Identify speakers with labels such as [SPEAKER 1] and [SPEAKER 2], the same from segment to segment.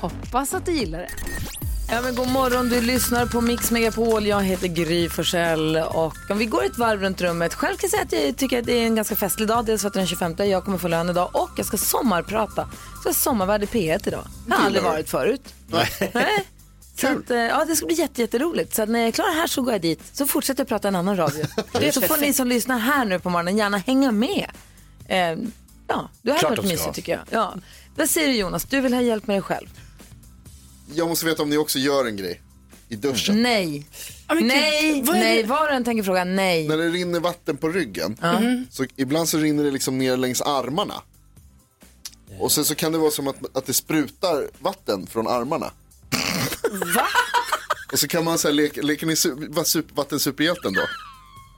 [SPEAKER 1] Hoppas att du gillar det. Ja, men god morgon, du lyssnar på Mix Megapol. Jag heter Gry Forssell. Och om vi går ett varv runt rummet. Själv kan jag säga att jag tycker att det är en ganska festlig dag. Dels för att det är den 25, jag kommer få lön idag och jag ska sommarprata. Så jag sommarvärd i P1 idag. Det har aldrig varit förut. Nej. Så att, eh, ja, det ska bli jätte, jätteroligt. Så att när jag är klar här så går jag dit. Så fortsätter jag prata i en annan radio. så får ni som lyssnar här nu på morgonen gärna hänga med. Eh, ja, du har varit mysigt tycker jag. Ja. Vad säger du Jonas? Du vill ha hjälp med dig själv?
[SPEAKER 2] Jag måste veta om ni också gör en grej i duschen.
[SPEAKER 1] Nej. nej, nej. Var och en tänker fråga nej.
[SPEAKER 2] När det rinner vatten på ryggen, Mm-hmm.
[SPEAKER 1] Mm-hmm.
[SPEAKER 2] så ibland så rinner det liksom ner längs armarna. Och sen så kan det vara som att, att det sprutar vatten från armarna.
[SPEAKER 1] Va?
[SPEAKER 2] Och så kan man så här, leka, leker ni su- va- sup- vattensuperhjälten då?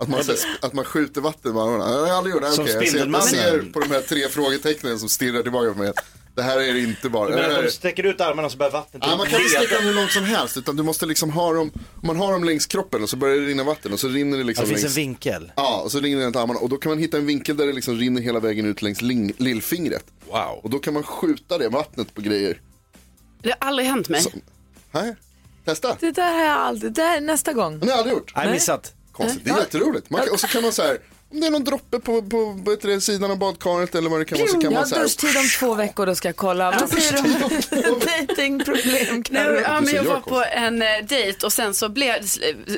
[SPEAKER 2] Att man, så här, sk- att man skjuter vatten med armarna. Jag har aldrig gjort det.
[SPEAKER 3] Som
[SPEAKER 2] Okej, jag, ser, jag
[SPEAKER 3] Spindelmannen.
[SPEAKER 2] ser på de här tre frågetecknen som stirrar tillbaka på mig. Det här är det inte bara.
[SPEAKER 3] Men
[SPEAKER 2] Det här
[SPEAKER 3] att
[SPEAKER 2] är-
[SPEAKER 3] de sträcker ut armarna så börjar vattnet
[SPEAKER 2] Ja, man kan inte sticka dem hur långt som helst utan du måste liksom ha dem, om man har dem längs kroppen och så börjar det rinna vatten och så rinner det
[SPEAKER 3] Ja,
[SPEAKER 2] liksom
[SPEAKER 3] Det finns en
[SPEAKER 2] längs,
[SPEAKER 3] vinkel.
[SPEAKER 2] ja, och så rinner det runt armarna och då kan man hitta en vinkel där det liksom rinner hela vägen ut längs ling, lillfingret.
[SPEAKER 3] Wow.
[SPEAKER 2] Och då kan man skjuta det vattnet på grejer.
[SPEAKER 4] Det har aldrig hänt mig.
[SPEAKER 2] Här, testa.
[SPEAKER 1] Det där har jag aldrig, det här är nästa gång.
[SPEAKER 2] Det har jag aldrig gjort.
[SPEAKER 3] Nej, missat.
[SPEAKER 2] Konstigt, det är jätteroligt. Man kan, och så kan man så här, om det är någon droppe på, på vad heter det, sidan av badkaret eller vad det kan vara så kan
[SPEAKER 1] Jag
[SPEAKER 2] man så
[SPEAKER 1] har
[SPEAKER 2] här.
[SPEAKER 1] duschtid om två veckor, då ska jag kolla. Vad säger du om dejtingproblem,
[SPEAKER 4] Nej,
[SPEAKER 1] Carro?
[SPEAKER 4] men- ja, men
[SPEAKER 2] ser
[SPEAKER 4] jag
[SPEAKER 2] jag
[SPEAKER 4] var på en eh, dejt och sen så blev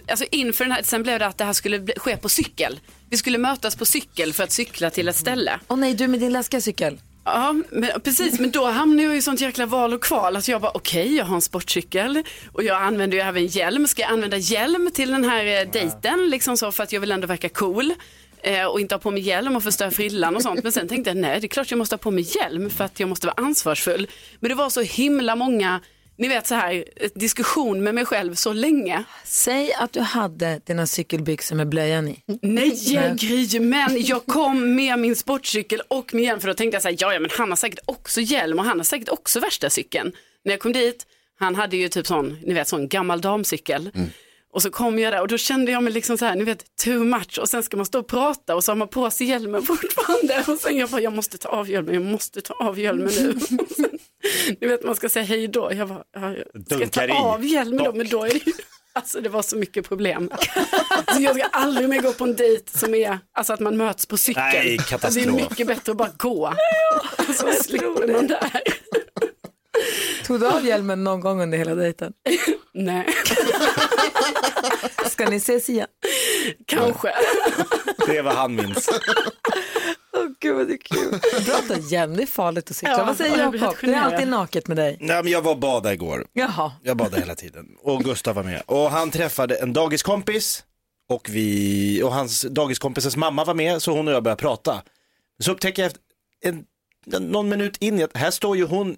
[SPEAKER 4] alltså inför den här, sen blev det att det här skulle bli, ske på cykel. Vi skulle mötas på cykel för att cykla till ett ställe.
[SPEAKER 1] Åh nej, du med din läskiga cykel.
[SPEAKER 4] Ja, men, precis, men då hamnade jag i sånt jäkla val och kval. Alltså jag bara, okej, jag har en sportcykel och jag använder ju även hjälm. Ska jag använda hjälm till den här eh, dejten liksom så för att jag vill ändå verka cool? eh, och inte ha på mig hjälm och förstöra frillan och sånt. Men sen tänkte jag, nej det är klart jag måste ha på mig hjälm för att jag måste vara ansvarsfull. Men det var så himla många, ni vet så här, eh, diskussion med mig själv så länge.
[SPEAKER 1] Säg att du hade dina cykelbyxor med blöjan i.
[SPEAKER 4] Nej, Gry, men jag kom med min sportcykel och min hjälm för då tänkte jag så här, ja, ja men han har säkert också hjälm och han har säkert också värsta cykeln. När jag kom dit, han hade ju typ sån, ni vet sån gammal damcykel. Och så kom jag där och då kände jag mig liksom så här, ni vet, too much och sen ska man stå och prata och så har man på sig hjälmen fortfarande och sen jag bara, jag måste ta av hjälmen, jag måste ta av hjälmen nu. Och sen, ni vet, man ska säga hej då, jag bara, ja, jag ska
[SPEAKER 3] Dunkar i.
[SPEAKER 4] jag ta av hjälmen då, men då är det ju, alltså det var så mycket problem. Så jag ska aldrig mer gå på en dejt som är alltså att man möts på cykel. Alltså,
[SPEAKER 3] Nej, katastrof.
[SPEAKER 4] Det är mycket bättre att bara gå. Så slipper man där.
[SPEAKER 1] Tog du av hjälmen någon gång under hela dejten?
[SPEAKER 4] Nej,
[SPEAKER 1] Ska ni ses igen?
[SPEAKER 4] kanske.
[SPEAKER 3] Det är vad han minns.
[SPEAKER 1] Åh gud vad det är kul. Bra att ha hjälm, det är farligt att cykla.
[SPEAKER 4] Ja,
[SPEAKER 1] Vad säger
[SPEAKER 4] jag blir
[SPEAKER 1] Jakob?
[SPEAKER 4] helt
[SPEAKER 1] Det är
[SPEAKER 4] generad.
[SPEAKER 1] alltid naket med dig.
[SPEAKER 3] Nej, men jag var och badade igår.
[SPEAKER 1] Jaha.
[SPEAKER 3] Jag badade hela tiden. Och Gustav var med. Och han träffade en dagiskompis. Och, vi, och hans dagiskompisens mamma var med, så hon och jag började prata. Så upptäcker jag efter en, någon minut in i att här står ju hon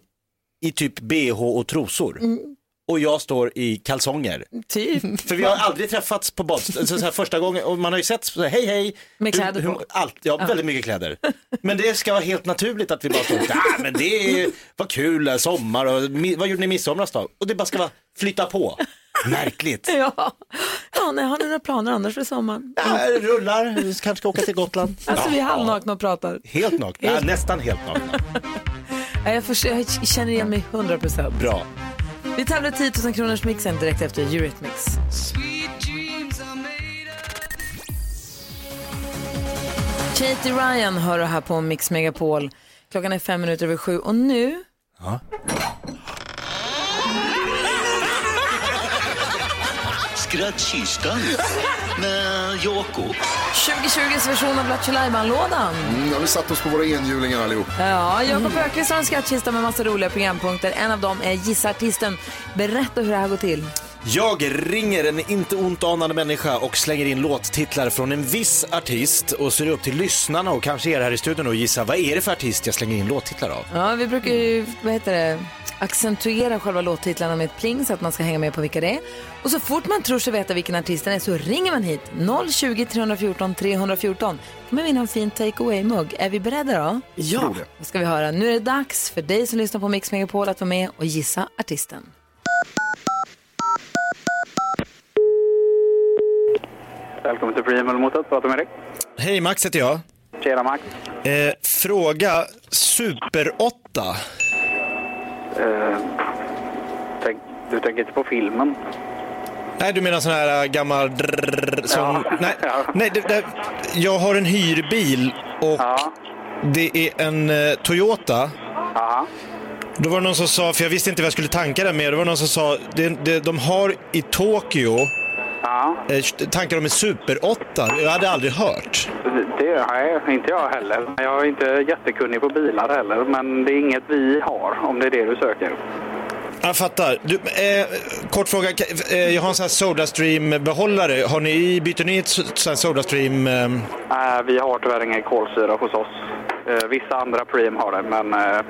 [SPEAKER 3] i typ bh och trosor.
[SPEAKER 2] Mm.
[SPEAKER 3] Och jag står i kalsonger.
[SPEAKER 1] Typ.
[SPEAKER 3] För vi har aldrig träffats på badstranden, så så här första gången, och man har ju sett så här, hej hej.
[SPEAKER 1] Med kläder på.
[SPEAKER 3] allt, ja, väldigt mycket kläder. Men det ska vara helt naturligt att vi bara står och, ah, men det är, vad kul, det är sommar och mi- vad gjorde ni i midsomras då? Och det bara ska vara, flytta på. Märkligt.
[SPEAKER 1] Ja. ja nej, har ni några planer annars för sommaren?
[SPEAKER 3] Ja, det rullar, vi kanske ska åka till Gotland.
[SPEAKER 1] Alltså vi är
[SPEAKER 3] Ja,
[SPEAKER 1] halvnakna och pratar.
[SPEAKER 3] ja. Helt nakna, ja, nästan helt nakna.
[SPEAKER 1] Nej, Jag, förs- jag känner igen mig 100 procent.
[SPEAKER 3] Bra.
[SPEAKER 1] Vi tävlar 10 000 kronors mixen direkt efter Eurythmics. Katie Ryan hör du här på Mix Megapol. Klockan är fem minuter över sju och nu...
[SPEAKER 5] Skrattkistan med Jakob.
[SPEAKER 1] 2020s version av Lattjo Lajban-lådan.
[SPEAKER 2] Mm, ja, vi satt oss på våra enhjulingar allihop.
[SPEAKER 1] Ja, Jakob
[SPEAKER 3] Mm.
[SPEAKER 1] Öqvist har en skattkista med massa roliga programpunkter. En av dem är Gissa Artisten. Berätta hur det här går till.
[SPEAKER 3] Jag ringer en inte ont anande människa och slänger in låttitlar från en viss artist och så är det upp till lyssnarna och kanske er här i studion att gissa vad är det för artist jag slänger in låttitlar av.
[SPEAKER 1] Ja, vi brukar ju vad heter det, accentuera själva låttitlarna med ett pling så att man ska hänga med på vilka det är. Och så fort man tror sig veta vilken artisten är så ringer man hit. 020 314 314. Kan man vinna en fin take away-mugg. Är vi beredda då?
[SPEAKER 4] Ja.
[SPEAKER 1] Då ska vi höra. Nu är det dags för dig som lyssnar på Mix Megapol att vara med och gissa artisten.
[SPEAKER 6] Välkommen till Preemal motet, pratar med Erik.
[SPEAKER 3] Hej, Max heter jag.
[SPEAKER 6] Tjena Max.
[SPEAKER 3] Eh, fråga Super 8.
[SPEAKER 6] Eh, tänk, du tänker inte på filmen?
[SPEAKER 3] Nej, du menar sån här äh, gammal... drrrr som, Nej, nej det, det, jag har en hyrbil och
[SPEAKER 6] Ja.
[SPEAKER 3] det är en eh, Toyota.
[SPEAKER 6] Aha.
[SPEAKER 3] Då var det någon som sa, för jag visste inte vad jag skulle tanka den med, det var någon som sa, det, det, de har i Tokyo,
[SPEAKER 6] Ja,
[SPEAKER 3] eh, tankar om en Super 8. Jag hade aldrig hört.
[SPEAKER 6] det- det nej, inte jag heller. Jag är inte jättekunnig på bilar heller, men det är inget vi har om det är det du söker.
[SPEAKER 3] Jag fattar. Du, eh, kort fråga, Ka- eh, jag har en sån här Sodastream-behållare. Har ni, byter ni ett så- sån här Sodastream? ehm,
[SPEAKER 6] Nej, Eh, vi har tyvärr ingen kolsyra hos oss. Eh, vissa andra Preem har det, men eh,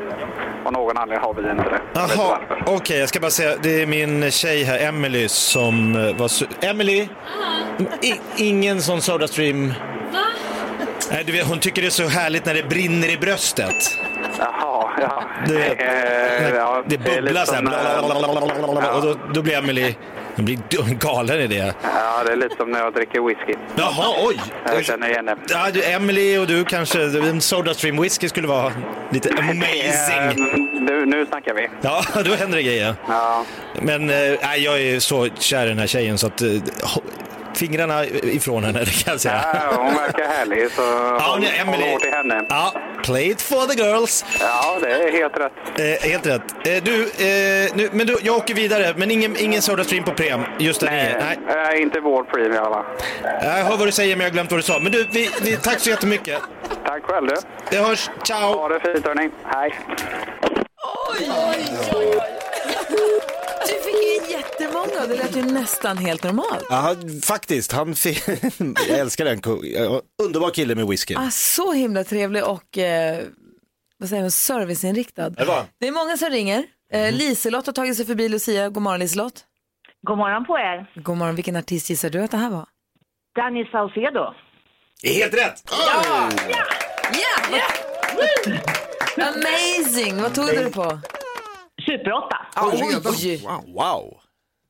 [SPEAKER 6] av någon anledning har vi inte det. Jag vet inte
[SPEAKER 3] Jaha,
[SPEAKER 6] varför.
[SPEAKER 3] okej jag ska bara säga, det är min tjej här, Emily som eh, var su- Emily? I, ingen sån Sodastream? Va? Nej, du vet, hon tycker det är så härligt när det brinner i bröstet.
[SPEAKER 6] Jaha, ja.
[SPEAKER 3] Du vet,
[SPEAKER 6] Eh, ja,
[SPEAKER 3] det
[SPEAKER 6] är lite
[SPEAKER 3] bubblar så här.
[SPEAKER 6] som, eh,
[SPEAKER 3] blablabla, Och då, då blir Emily, hon blir d- galen i det.
[SPEAKER 6] Ja, det är lite som när jag dricker whisky.
[SPEAKER 3] Jaha, oj!
[SPEAKER 6] Jag känner igen det.
[SPEAKER 3] Ja, du, Emily och du kanske, en Sodastream whisky skulle vara lite amazing.
[SPEAKER 6] Eh, nu, nu snackar vi.
[SPEAKER 3] Ja, då händer det grejer.
[SPEAKER 6] Ja,
[SPEAKER 3] Men eh, nej, jag är så kär i den här tjejen så att eh, ho- fingrarna ifrån henne, det kan jag säga.
[SPEAKER 6] ja, hon verkar härlig så
[SPEAKER 3] Ja,
[SPEAKER 6] håll,
[SPEAKER 3] nu, Emily.
[SPEAKER 6] håll hårt i henne.
[SPEAKER 3] Ja, play it for the girls.
[SPEAKER 6] Ja, det är helt rätt.
[SPEAKER 3] Eh, helt rätt. Eh, du, eh, nu, men du, jag åker vidare, men ingen, ingen Sodastream på Prem. Just där nere. Nej.
[SPEAKER 6] Eh, inte vår prim i alla fall.
[SPEAKER 3] Jag hör vad du säger, men jag har glömt vad du sa. Men du, vi, vi, tack så jättemycket.
[SPEAKER 6] Tack själv du.
[SPEAKER 3] Vi hörs. Ciao!
[SPEAKER 6] Ha det fint hörni. Hej.
[SPEAKER 1] Du fick ju jättemånga och det lät ju nästan helt normalt.
[SPEAKER 3] Ja, faktiskt. Han jag älskar den. Underbar kille med whisky.
[SPEAKER 1] Ah, så himla trevlig och eh, vad säger man, serviceinriktad.
[SPEAKER 3] Det var.
[SPEAKER 1] Det är många som ringer. Eh, Liselott har tagit sig förbi Lucia. God morgon Liselott.
[SPEAKER 7] God morgon på er.
[SPEAKER 1] God morgon. Vilken artist gissar du att det här var?
[SPEAKER 7] Danny Saucedo.
[SPEAKER 3] Helt rätt!
[SPEAKER 1] Ja! Amazing! Vad tog du på?
[SPEAKER 7] Super 8.
[SPEAKER 1] Oj!
[SPEAKER 3] Wow!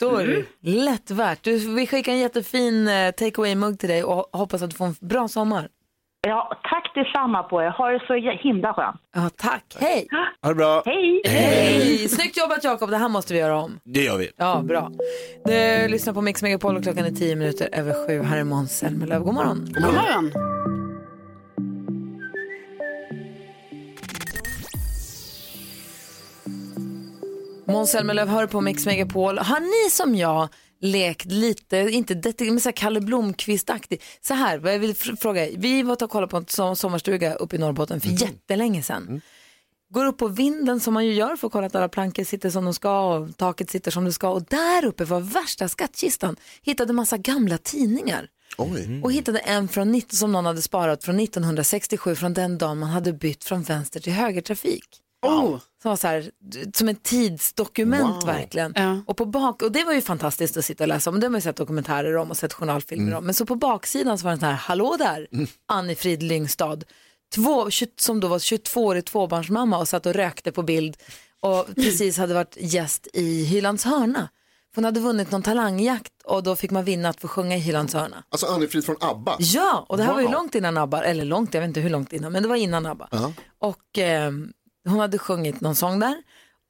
[SPEAKER 1] Då är det lätt värt. Du, vi skickar en jättefin eh, take away-mugg till dig och ho- hoppas att du får en bra sommar.
[SPEAKER 7] Ja, tack detsamma på er. Ha det så himla skönt.
[SPEAKER 1] Ja, tack. Hej!
[SPEAKER 3] Ha det bra.
[SPEAKER 7] Hej!
[SPEAKER 1] Hej! Snyggt jobbat Jakob, det här måste vi göra om.
[SPEAKER 3] Det gör vi.
[SPEAKER 1] Ja, bra. Du lyssnar på Mix Megapol och klockan är tio minuter över sju. Här är Måns Zelmerlöw. God morgon.
[SPEAKER 4] God morgon.
[SPEAKER 1] Måns Zelmerlöw hör på Mix Megapol. Har ni som jag lekt lite, inte detektiv, men så här Kalle Blomkvist-aktig? Så här, vad jag vill fr- fråga, er. vi var och kollade på en som- sommarstuga uppe i Norrbotten för jättelänge sedan. Går upp på vinden som man ju gör för att kolla att alla plankor sitter som de ska och taket sitter som det ska. Och där uppe var värsta skattkistan, hittade massa gamla tidningar. Mm. Och hittade en från 19, som någon hade sparat från 1967 från den dagen man hade bytt från vänster till högertrafik.
[SPEAKER 4] Oh.
[SPEAKER 1] Som var så här, som ett tidsdokument verkligen.
[SPEAKER 4] Ja.
[SPEAKER 1] Och, på bak, och det var ju fantastiskt att sitta och läsa om. Det har man ju sett dokumentärer om och sett journalfilmer om. Men så på baksidan så var det så här, hallå där, Anne-Frid Lyngstad. Två, tju- som då var 22-årig tvåbarnsmamma och satt och rökte på bild. Och precis hade varit gäst i Hylands hörna. För Hon hade vunnit någon talangjakt och då fick man vinna att få sjunga i Hylands hörna.
[SPEAKER 2] Alltså Anne-Frid från ABBA.
[SPEAKER 1] Ja, och det här var ju långt innan ABBA, eller långt, jag vet inte hur långt innan, men det var innan ABBA. Och eh, hon hade sjungit någon sång där.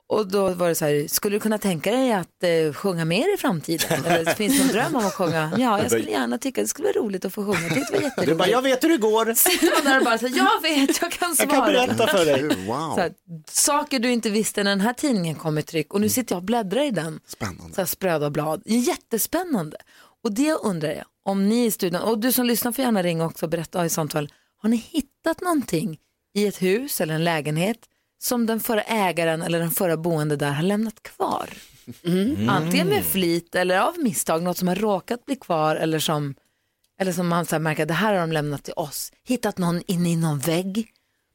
[SPEAKER 1] Och då var det så här, skulle du kunna tänka dig att eh, sjunga mer i framtiden? Eller finns det någon dröm om att sjunga? Ja, jag skulle gärna tycka det skulle vara roligt att få sjunga. Jag tyckte det var
[SPEAKER 3] Du bara, jag
[SPEAKER 1] jätteroligt.
[SPEAKER 3] vet hur det går.
[SPEAKER 1] Sitter man där och bara så här, jag vet, jag kan
[SPEAKER 3] Jag kan
[SPEAKER 1] svara.
[SPEAKER 3] berätta för dig.
[SPEAKER 2] Wow.
[SPEAKER 1] Så här, saker du inte visste när den här tidningen kom i tryck och nu sitter jag och bläddrar i den.
[SPEAKER 2] Mm. Spännande.
[SPEAKER 1] Så här spröda blad. Jättespännande. Och det undrar jag, om ni i studion, och du som lyssnar får gärna ringa också och berätta i samtal, har ni hittat någonting i ett hus eller en lägenhet som den förra ägaren eller den förra boende där har lämnat kvar? Antingen med
[SPEAKER 2] Mm.
[SPEAKER 1] flit eller av misstag, något som har råkat bli kvar eller som, eller som man så här märker att det här har de lämnat till oss. Hittat någon inne i någon vägg,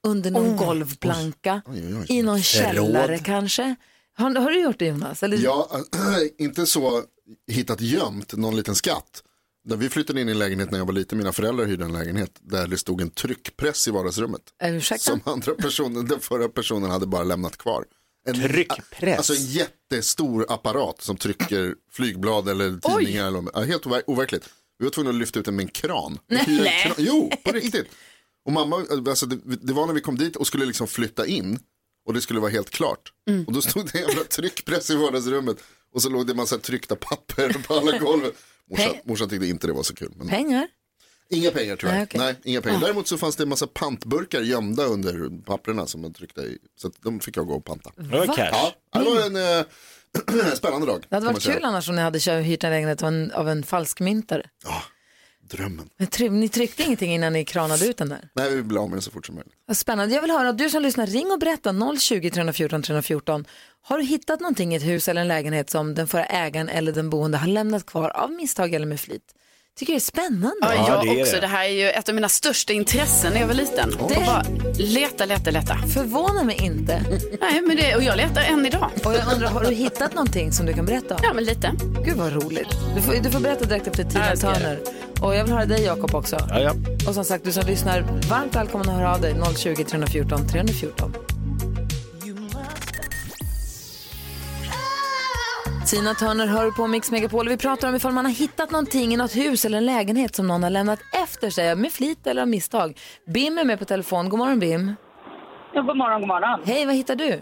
[SPEAKER 1] under någon
[SPEAKER 2] Oh,
[SPEAKER 1] golvplanka, i någon källare kanske. Har, har du gjort det Jonas? Eller,
[SPEAKER 2] Ja, inte så hittat gömt någon liten skatt. När vi flyttade in i en lägenhet när jag var liten, mina föräldrar hyrde en lägenhet där det stod en tryckpress i vardagsrummet.
[SPEAKER 1] Eh, Ursäkta?
[SPEAKER 2] Som andra personen, den förra personen hade bara lämnat kvar. En,
[SPEAKER 3] Tryckpress?
[SPEAKER 2] Alltså en jättestor apparat som trycker flygblad eller tidningar. Eller, ja, helt overk- overkligt. Vi var tvungna att lyfta ut den med en kran. Nej. kran. Jo, på riktigt. Och mamma, alltså, det, det var när vi kom dit och skulle liksom flytta in och det skulle vara helt klart.
[SPEAKER 1] Mm.
[SPEAKER 2] Och då stod det en jävla tryckpress i vardagsrummet och så låg det en massa tryckta papper på alla golven. Morsan,
[SPEAKER 1] Pe-
[SPEAKER 2] morsan tyckte inte det var så kul. Men...
[SPEAKER 1] Pengar?
[SPEAKER 2] Inga pengar tyvärr.
[SPEAKER 1] Nej,
[SPEAKER 2] Nej,
[SPEAKER 1] okej.
[SPEAKER 2] inga pengar. Däremot så fanns det en massa pantburkar gömda under papperna som man tryckte i. Så att de fick jag gå och panta.
[SPEAKER 1] Mm.
[SPEAKER 3] Det var cash.
[SPEAKER 2] Ja, det var en eh, spännande dag.
[SPEAKER 1] Det hade
[SPEAKER 2] kan man
[SPEAKER 1] varit
[SPEAKER 2] säga.
[SPEAKER 1] kul annars om ni hade kört, hyrt en lägenhet av en, av en falskmyntare.
[SPEAKER 2] Drömmen.
[SPEAKER 1] Men try- ni tryckte ingenting innan ni kranade ut den där?
[SPEAKER 2] Nej, vi blir av med den så fort som möjligt.
[SPEAKER 1] Vad spännande. Jag vill höra, du som lyssnar, ring och berätta 020 314 314. Har du hittat någonting i ett hus eller en lägenhet som den förra ägaren eller den boende har lämnat kvar av misstag eller med flit? Tycker det är spännande.
[SPEAKER 4] Ja, jag
[SPEAKER 3] det är
[SPEAKER 4] också.
[SPEAKER 3] det.
[SPEAKER 4] Det här är ju ett av mina största intressen när jag var liten. Och
[SPEAKER 1] Det-
[SPEAKER 4] bara leta, leta, leta.
[SPEAKER 1] Förvånar mig inte.
[SPEAKER 4] Nej, men det, och jag letar än idag.
[SPEAKER 1] Och jag undrar, har du hittat någonting som du kan berätta om?
[SPEAKER 4] Ja, men lite.
[SPEAKER 1] Gud vad roligt. Du får, du får berätta direkt efter
[SPEAKER 4] Ja,
[SPEAKER 1] Tina
[SPEAKER 4] jag ska göra
[SPEAKER 1] Turner. Och jag vill höra dig Jakob också.
[SPEAKER 3] Ja, ja.
[SPEAKER 1] Och som sagt, du som lyssnar, varmt välkommen att höra av dig 020 314 314. Tina Turner hör på Mix Megapol. Vi pratar om ifall man har hittat någonting i något hus eller en lägenhet som någon har lämnat efter sig med flit eller av misstag. Bim är med på telefon. God morgon Bim.
[SPEAKER 7] Ja, god morgon, god morgon.
[SPEAKER 1] Hej, vad hittar du?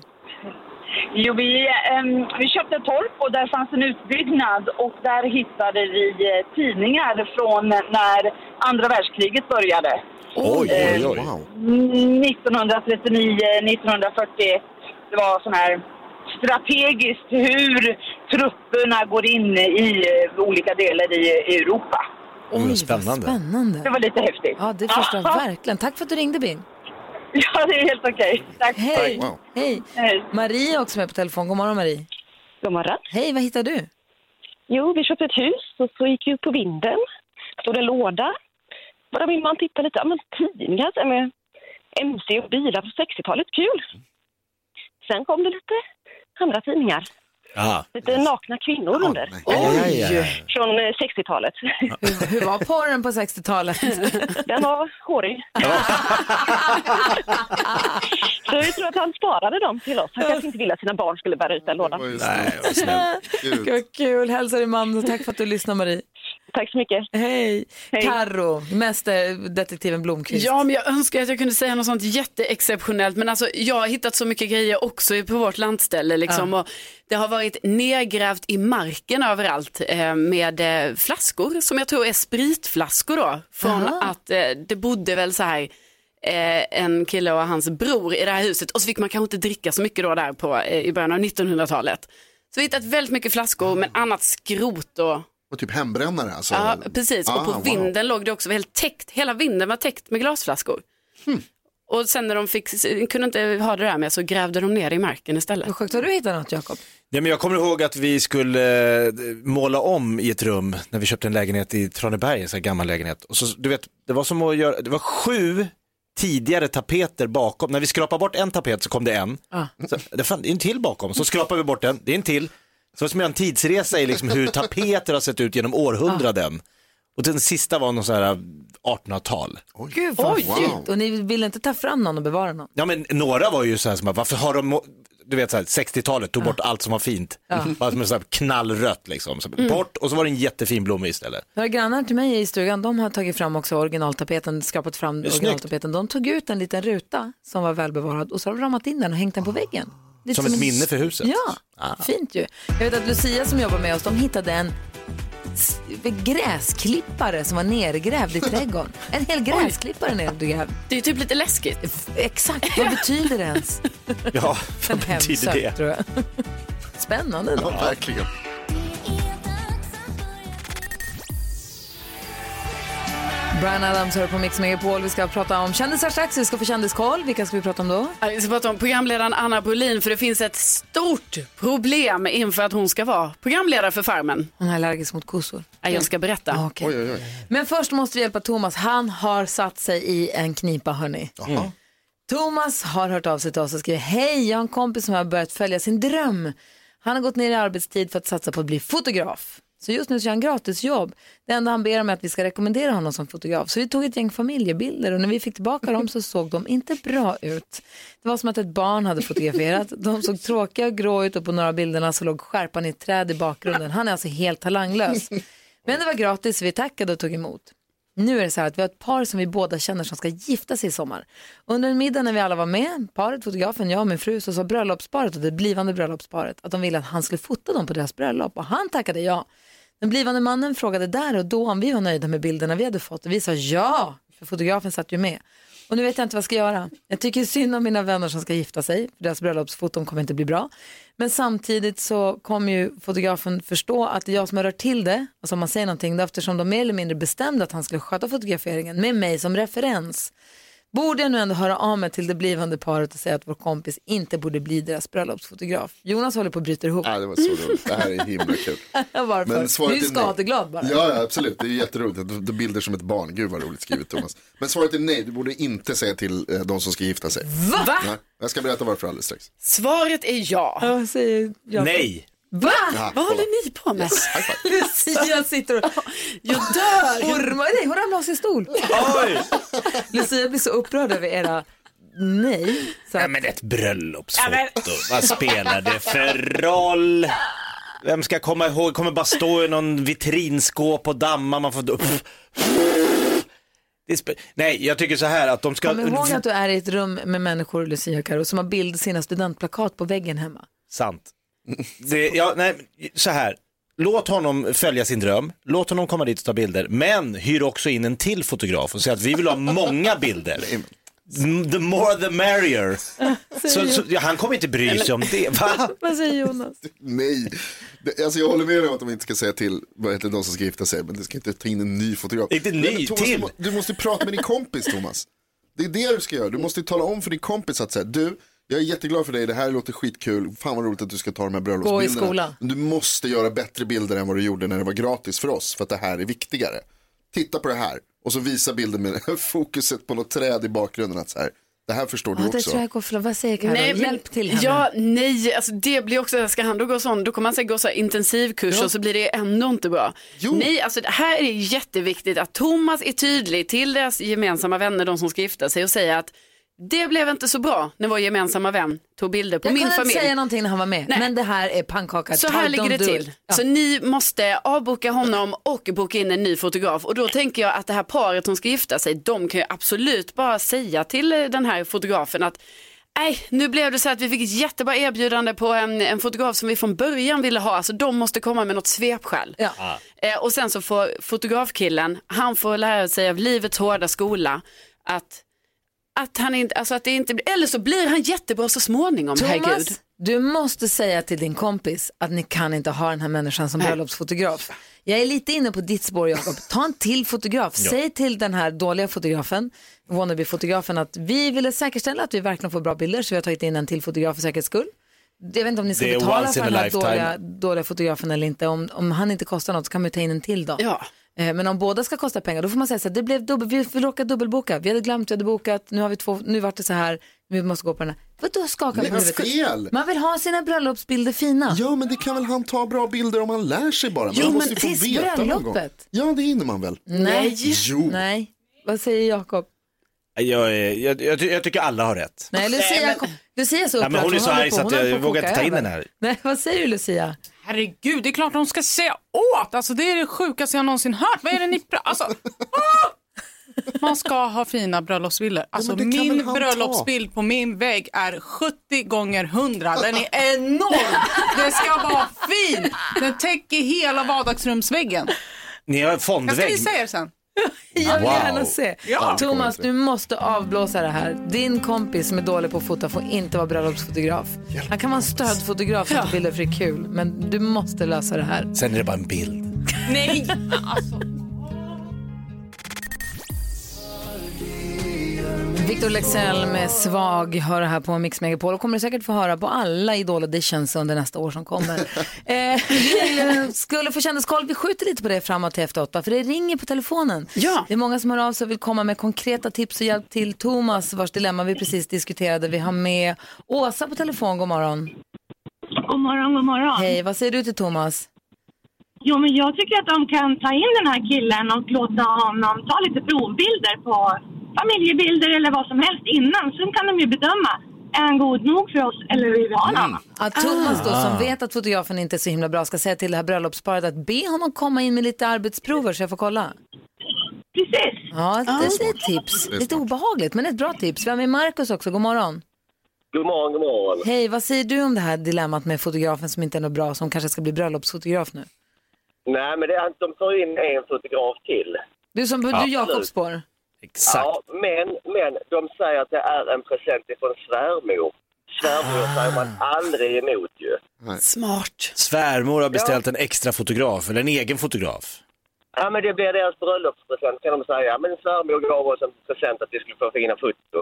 [SPEAKER 7] Jo, vi, ehm, vi köpte ett torp och där fanns en utbyggnad och där hittade vi eh, tidningar från när andra världskriget började.
[SPEAKER 3] Oj, oj, oj.
[SPEAKER 2] Wow.
[SPEAKER 7] Mm, 1939, 1940. Det var sån här strategiskt hur trupperna går in i eh, olika delar i i Europa.
[SPEAKER 3] Oj,
[SPEAKER 1] vad
[SPEAKER 3] spännande.
[SPEAKER 7] Det
[SPEAKER 1] spännande.
[SPEAKER 7] var lite häftigt.
[SPEAKER 1] Ja, det förstår jag
[SPEAKER 7] Ja,
[SPEAKER 1] verkligen. Tack för att du ringde Bim.
[SPEAKER 7] Ja, det är helt okej. Tack.
[SPEAKER 1] Hej!
[SPEAKER 2] Wow.
[SPEAKER 1] Hej!
[SPEAKER 7] Hej.
[SPEAKER 1] Marie är också med på telefon. God morgon Marie.
[SPEAKER 7] God morgon.
[SPEAKER 1] Hej, vad hittar du?
[SPEAKER 7] Jo, vi köpte ett hus och så gick vi upp på vinden. Stod en låda. Bara min man tittade lite. Ja, men tidningar så här med MC och bilar på 60-talet. Kul! Sen kom det lite andra tidningar.
[SPEAKER 3] Aha.
[SPEAKER 7] Lite nakna kvinnor under.
[SPEAKER 3] Oj!
[SPEAKER 7] Från eh, 60-talet.
[SPEAKER 1] Hur, hur var porren på 60-talet?
[SPEAKER 7] Den var hårig. så vi tror att han sparade dem till oss. Han kanske inte ville att sina barn skulle bära ut den
[SPEAKER 2] Det
[SPEAKER 7] lådan.
[SPEAKER 2] var ju
[SPEAKER 3] Nej, vad snällt.
[SPEAKER 2] snyggt.
[SPEAKER 1] Gud, Vad kul! Hälsa din mamma och tack för att du lyssnar Marie.
[SPEAKER 7] Tack så mycket.
[SPEAKER 1] Hej!
[SPEAKER 7] Hej.
[SPEAKER 1] Carro, mästerdetektiven Blomqvist.
[SPEAKER 4] Ja, men jag önskar att jag kunde säga något sånt jätteexceptionellt. Men alltså, jag har hittat så mycket grejer också på vårt landställe. Liksom, och det har varit nedgrävt i marken överallt eh, med eh, flaskor som jag tror är spritflaskor då. Från att eh, det bodde väl så här eh, en kille och hans bror i det här huset. Och så fick man kanske inte dricka så mycket då där på, eh, i början av 1900-talet. Så vi har hittat väldigt mycket flaskor men annat skrot och
[SPEAKER 2] Och typ hembrännare alltså.
[SPEAKER 4] Ja, precis.
[SPEAKER 2] Ah,
[SPEAKER 4] och på
[SPEAKER 2] wow.
[SPEAKER 4] vinden låg det också helt täckt. Hela vinden var täckt med glasflaskor.
[SPEAKER 2] Hmm.
[SPEAKER 4] Och sen när de fick, kunde inte ha det där med så grävde de ner det i marken istället.
[SPEAKER 1] Vad sjukt. Har du hittat något Jakob?
[SPEAKER 3] Nej, men jag kommer ihåg att vi skulle eh, måla om i ett rum när vi köpte en lägenhet i Traneberg, en sån här gammal lägenhet. Och så, du vet, det var som att göra, det var sju tidigare tapeter bakom. När vi skrapade bort en tapet så kom det en. Så, det fanns en till bakom, så skrapade vi bort den, det är en till. Så det var som att göra en tidsresa i liksom hur tapeter har sett ut genom århundraden. Och den sista var någon sån här 1800-tal.
[SPEAKER 1] Gud vad
[SPEAKER 2] Oj.
[SPEAKER 1] fint! Och ni vill inte ta fram någon och bevara någon?
[SPEAKER 3] Ja men några var ju så här som bara, varför har de, må- du vet så här, 60-talet tog bort allt som var fint. Mm. Bara som en sån här knallrött liksom. Så,
[SPEAKER 1] Mm.
[SPEAKER 3] Bort och så var det en jättefin blomma istället.
[SPEAKER 1] Några grannar till mig i stugan, de har tagit fram också originaltapeten, skrapat fram
[SPEAKER 3] är snyggt.
[SPEAKER 1] originaltapeten. De tog ut en liten ruta som var välbevarad och så har de ramat in den och hängt den på väggen. Lite
[SPEAKER 3] Som ett
[SPEAKER 1] en-
[SPEAKER 3] minne för huset.
[SPEAKER 1] Ja,
[SPEAKER 3] Ah.
[SPEAKER 1] fint ju. Jag vet att Lucia som jobbar med oss, de hittade en s- gräsklippare som var nergrävd i trädgården. En hel gräsklippare nergrävd.
[SPEAKER 4] Det är ju typ lite läskigt.
[SPEAKER 1] F- Exakt, vad betyder det ens?
[SPEAKER 3] Ja,
[SPEAKER 1] En
[SPEAKER 3] vad betyder
[SPEAKER 1] hemsök,
[SPEAKER 3] det?
[SPEAKER 1] tror jag. Spännande då.
[SPEAKER 2] Ja, verkligen.
[SPEAKER 1] Brian Adams hör på Mix Megapol. Vi ska prata om kändisar strax. Vi ska få kändiskoll. Vilka ska vi prata om då?
[SPEAKER 4] Ja, Vi ska prata om programledaren Anna Brolin för det finns ett stort problem inför att hon ska vara programledare för Farmen.
[SPEAKER 1] Hon är allergisk mot kossor.
[SPEAKER 4] Ja, Jag ska berätta.
[SPEAKER 1] Okej. Men först måste vi hjälpa Thomas. Han har satt sig i en knipa, hörni. Thomas har hört av sig till oss och skriver Hej, jag har en kompis som har börjat följa sin dröm. Han har gått ner i arbetstid för att satsa på att bli fotograf. Så just nu så gör han gratisjobb. Det enda han ber om är att vi ska rekommendera honom som fotograf. Så vi tog ett gäng familjebilder och när vi fick tillbaka dem så såg de inte bra ut. Det var som att ett barn hade fotograferat. De såg tråkiga och grå ut och på några bilderna så låg skärpan i ett träd i bakgrunden. Han är alltså helt talanglös. Men det var gratis, så vi tackade och tog emot. Nu är det så här att vi har ett par som vi båda känner som ska gifta sig i sommar. Under en middag när vi alla var med, paret, fotografen, jag och min fru, så sa bröllopsparet och det blivande bröllopsparet att de ville att han skulle fota dem på deras bröllop och han tackade ja. Den blivande mannen frågade där och då om vi var nöjda med bilderna vi hade fått och vi sa ja, för fotografen satt ju med. Och nu vet jag inte vad jag ska göra. Jag tycker synd om mina vänner som ska gifta sig, för deras bröllopsfoton kommer inte bli bra. Men samtidigt så kommer ju fotografen förstå att det är jag som har rört till det, alltså om man säger någonting, då eftersom de mer eller mindre bestämde att han skulle sköta fotograferingen med mig som referens. Borde jag nu ändå höra av mig till det blivande paret och säga att vår kompis inte borde bli deras bröllopsfotograf? Jonas håller på att bryta ihop.
[SPEAKER 2] Ja, det var så roligt. Det här är himla kul.
[SPEAKER 1] Varför?
[SPEAKER 2] Men svaret
[SPEAKER 1] Du är ju
[SPEAKER 2] är nej.
[SPEAKER 1] skadeglad bara.
[SPEAKER 2] Ja, ja, absolut. Det är jätteroligt. Det- det Bilder som ett barn. Gud vad roligt skrivet Thomas. Men svaret är nej. Du borde inte säga till eh, de som ska gifta sig.
[SPEAKER 4] Va?
[SPEAKER 2] Nej. Jag ska berätta varför alldeles strax.
[SPEAKER 4] Svaret är ja.
[SPEAKER 1] Ja, säger jag.
[SPEAKER 3] Nej!
[SPEAKER 1] Va?
[SPEAKER 2] Ja,
[SPEAKER 4] Vad
[SPEAKER 2] kolla.
[SPEAKER 4] håller ni på med?
[SPEAKER 2] Yes, high five.
[SPEAKER 1] Lucia sitter och
[SPEAKER 4] Jag dör!
[SPEAKER 1] ormar. Nej, hon ramlade av sin stol.
[SPEAKER 3] Oj!
[SPEAKER 1] Lucia blir så upprörd över era nej. Så
[SPEAKER 3] Ja,
[SPEAKER 1] att,
[SPEAKER 3] men ett bröllopsfoto, vad spelar det för roll? Vem ska komma ihåg, kommer bara stå i någon vitrinskåp och damma, man får... Pff, pff. Det spe... Nej, jag tycker så här att de ska...
[SPEAKER 1] kom ihåg att du är i ett rum med människor, Lucia och Karo, som har bild sina studentplakat på väggen hemma.
[SPEAKER 3] Sant. Det, ja, nej, så här. Låt honom följa sin dröm, låt honom komma dit och ta bilder, men hyr också in en till fotograf och säg att vi vill ha många bilder. Mm, The more the merrier. Så, så, ja, han kommer inte bry sig om det. Va?
[SPEAKER 1] Vad säger Jonas?
[SPEAKER 2] Nej, det, alltså jag håller med dig om att de inte ska säga till vad heter de som ska gifta sig, men du ska inte ta in en ny fotograf.
[SPEAKER 3] Inte ny,
[SPEAKER 2] Nej, men Thomas,
[SPEAKER 3] till.
[SPEAKER 2] Du, må- du måste prata med din kompis Thomas. Det är det du ska göra, du måste ju tala om för din kompis att säga, du, jag är jätteglad för dig, det här låter skitkul, fan vad roligt att du ska ta de här bröllopsbilderna.
[SPEAKER 1] skola.
[SPEAKER 2] Men Du måste göra bättre bilder än vad du gjorde när det var gratis för oss, för att det här är viktigare. Titta på det här, och så visa bilden med fokuset på något träd i bakgrunden, att så här, det här förstår du
[SPEAKER 1] Ja, det
[SPEAKER 2] också.
[SPEAKER 1] tror jag går för långt. Vad säger Karo? Hjälp till henne.
[SPEAKER 4] Ja, nej, alltså det blir också, ska han då gå sån, då kommer han säkert gå så här intensivkurs och så blir det ändå inte bra.
[SPEAKER 2] Jo.
[SPEAKER 4] Nej, alltså det här är jätteviktigt att Thomas är tydlig till deras gemensamma vänner, de som ska gifta sig och säga att det blev inte så bra när vår gemensamma vän tog bilder på
[SPEAKER 1] jag
[SPEAKER 4] min
[SPEAKER 1] kunde
[SPEAKER 4] familj.
[SPEAKER 1] inte säga någonting när han var med,
[SPEAKER 4] Nej.
[SPEAKER 1] men det här är pannkaka.
[SPEAKER 4] Så här
[SPEAKER 1] Don't
[SPEAKER 4] ligger det
[SPEAKER 1] do
[SPEAKER 4] till.
[SPEAKER 1] it. Ja.
[SPEAKER 4] Så ni måste avboka honom och boka in en ny fotograf. Och då tänker jag att det här paret som ska gifta sig, de kan ju absolut bara säga till eh, den här fotografen att Nej, nu blev det så att vi fick ett jättebra erbjudande på en, en fotograf som vi från början ville ha. Alltså de måste komma med något svepskäl.
[SPEAKER 1] Ja.
[SPEAKER 4] Eh, och sen så får fotografkillen, han får lära sig av livets hårda skola att, att han inte, alltså att det inte blir, eller så blir han jättebra så småningom, herregud.
[SPEAKER 1] Thomas, du måste säga till din kompis att ni kan inte ha den här människan som bröllopsfotograf. Jag är lite inne på ditt spår Jakob. Ta en till fotograf. Säg till den här dåliga fotografen, wannabe-fotografen, att vi ville säkerställa att vi verkligen får bra bilder så vi har tagit in en till fotograf för säkerhets skull. Jag vet inte om ni ska
[SPEAKER 3] Det är
[SPEAKER 1] betala
[SPEAKER 3] once
[SPEAKER 1] för
[SPEAKER 3] in
[SPEAKER 1] den
[SPEAKER 3] a
[SPEAKER 1] här
[SPEAKER 3] lifetime.
[SPEAKER 1] dåliga, dåliga fotografen eller inte. Om, om han inte kostar något så kan man ju ta in en till då.
[SPEAKER 4] Ja.
[SPEAKER 1] Eh, Men om båda ska kosta pengar, då får man säga så här, det blev dubbel, vi, vi råkade dubbelboka, vi hade glömt, vi hade bokat, nu har vi två, nu vart det så här, vi måste gå på den här. Vadå skaka på
[SPEAKER 2] Nej, vad
[SPEAKER 1] huvudet?
[SPEAKER 2] fel!
[SPEAKER 1] Man vill ha sina bröllopsbilder fina.
[SPEAKER 2] Ja, men det kan väl han ta bra bilder om han lär sig bara. Men
[SPEAKER 1] Jo,
[SPEAKER 2] han
[SPEAKER 1] men
[SPEAKER 2] måste ju få
[SPEAKER 1] tills
[SPEAKER 2] veta någon gång.
[SPEAKER 1] bröllopet.
[SPEAKER 2] Ja, det hinner man väl?
[SPEAKER 1] Nej.
[SPEAKER 2] Jo.
[SPEAKER 1] Nej. Vad säger Jakob?
[SPEAKER 3] Jag, är- jag, jag, ty- jag tycker alla har rätt.
[SPEAKER 1] Nej, Lucia, kom- Lucia är så
[SPEAKER 3] Ja,
[SPEAKER 1] upprörd.
[SPEAKER 3] men hon är så
[SPEAKER 1] håller
[SPEAKER 3] arg
[SPEAKER 1] på-
[SPEAKER 3] så att
[SPEAKER 1] hon håller
[SPEAKER 3] jag
[SPEAKER 1] på
[SPEAKER 3] vågar inte
[SPEAKER 1] koka
[SPEAKER 3] ta in
[SPEAKER 1] över.
[SPEAKER 3] den här.
[SPEAKER 1] Nej, vad säger du Lucia?
[SPEAKER 8] Herregud, det är klart de ska säga åt. Alltså det är det sjukaste jag någonsin hört. Vad är det ni pratar alltså, ah! Man ska ha fina bröllopsbilder. Alltså
[SPEAKER 2] men det kan väl
[SPEAKER 8] min
[SPEAKER 2] han
[SPEAKER 8] bröllopsbild på min vägg är 70 gånger 100. Den är enorm. Det ska vara fin. Den täcker hela vardagsrumsväggen.
[SPEAKER 3] Ni har en
[SPEAKER 8] Jag ska
[SPEAKER 3] fondvägg.
[SPEAKER 8] visa er sen.
[SPEAKER 1] Jag vill
[SPEAKER 3] Wow.
[SPEAKER 1] gärna se.
[SPEAKER 8] Ja.
[SPEAKER 1] Thomas, du måste avblåsa det här. Din kompis som är dålig på att fota får inte vara bröllopsfotograf. Han kan vara en stödfotograf som tar bilder för det är kul, men du måste lösa det här.
[SPEAKER 3] Sen är det bara en bild.
[SPEAKER 8] Nej. Alltså.
[SPEAKER 1] Victor Lexell med Svag hör här på Mix Megapol och kommer du säkert få höra på alla Idol auditions under nästa år som kommer. eh, vi skulle få kändiskoll, vi skjuter lite på det framåt till efter åtta för det ringer på telefonen.
[SPEAKER 4] Ja.
[SPEAKER 1] Det är många som hör av sig och vill komma med konkreta tips och hjälp till Thomas vars dilemma vi precis diskuterade. Vi har med Åsa på telefon, god morgon.
[SPEAKER 9] God morgon, god morgon.
[SPEAKER 1] Hej, vad säger du till Thomas?
[SPEAKER 9] Jo, men jag tycker att de kan ta in den här killen och låta honom ta lite provbilder på familjebilder eller vad som helst innan. Sen kan de ju bedöma, är han god nog för oss eller vill vi ha en annan?
[SPEAKER 1] Att Thomas då som
[SPEAKER 9] Ah.
[SPEAKER 1] vet att fotografen inte är så himla bra ska säga till det här bröllopsparet att be honom komma in med lite arbetsprover så jag får kolla.
[SPEAKER 9] Precis.
[SPEAKER 1] Ja,
[SPEAKER 9] Ja.
[SPEAKER 1] det är ett tips.
[SPEAKER 9] Det är
[SPEAKER 1] Lite
[SPEAKER 9] smart.
[SPEAKER 1] obehagligt men ett bra tips. Vi har med Markus också, god morgon.
[SPEAKER 10] God morgon, god morgon.
[SPEAKER 1] Hej, vad säger du om det här dilemmat med fotografen som inte är något bra som kanske ska bli bröllopsfotograf nu?
[SPEAKER 10] Nej, men det, är- de tar in en fotograf till.
[SPEAKER 1] Du som du
[SPEAKER 10] Absolut.
[SPEAKER 1] Jakobs spår.
[SPEAKER 3] Exakt.
[SPEAKER 10] Ja, men, men de säger att det är en present ifrån svärmor. Svärmor
[SPEAKER 4] Ah.
[SPEAKER 10] säger man aldrig emot ju.
[SPEAKER 4] Smart.
[SPEAKER 3] Svärmor har beställt en extra fotograf, eller en egen fotograf.
[SPEAKER 10] Ja, men det blir deras bröllopspresent kan de säga. Ja, men svärmor gav oss en present att vi skulle få fina foto.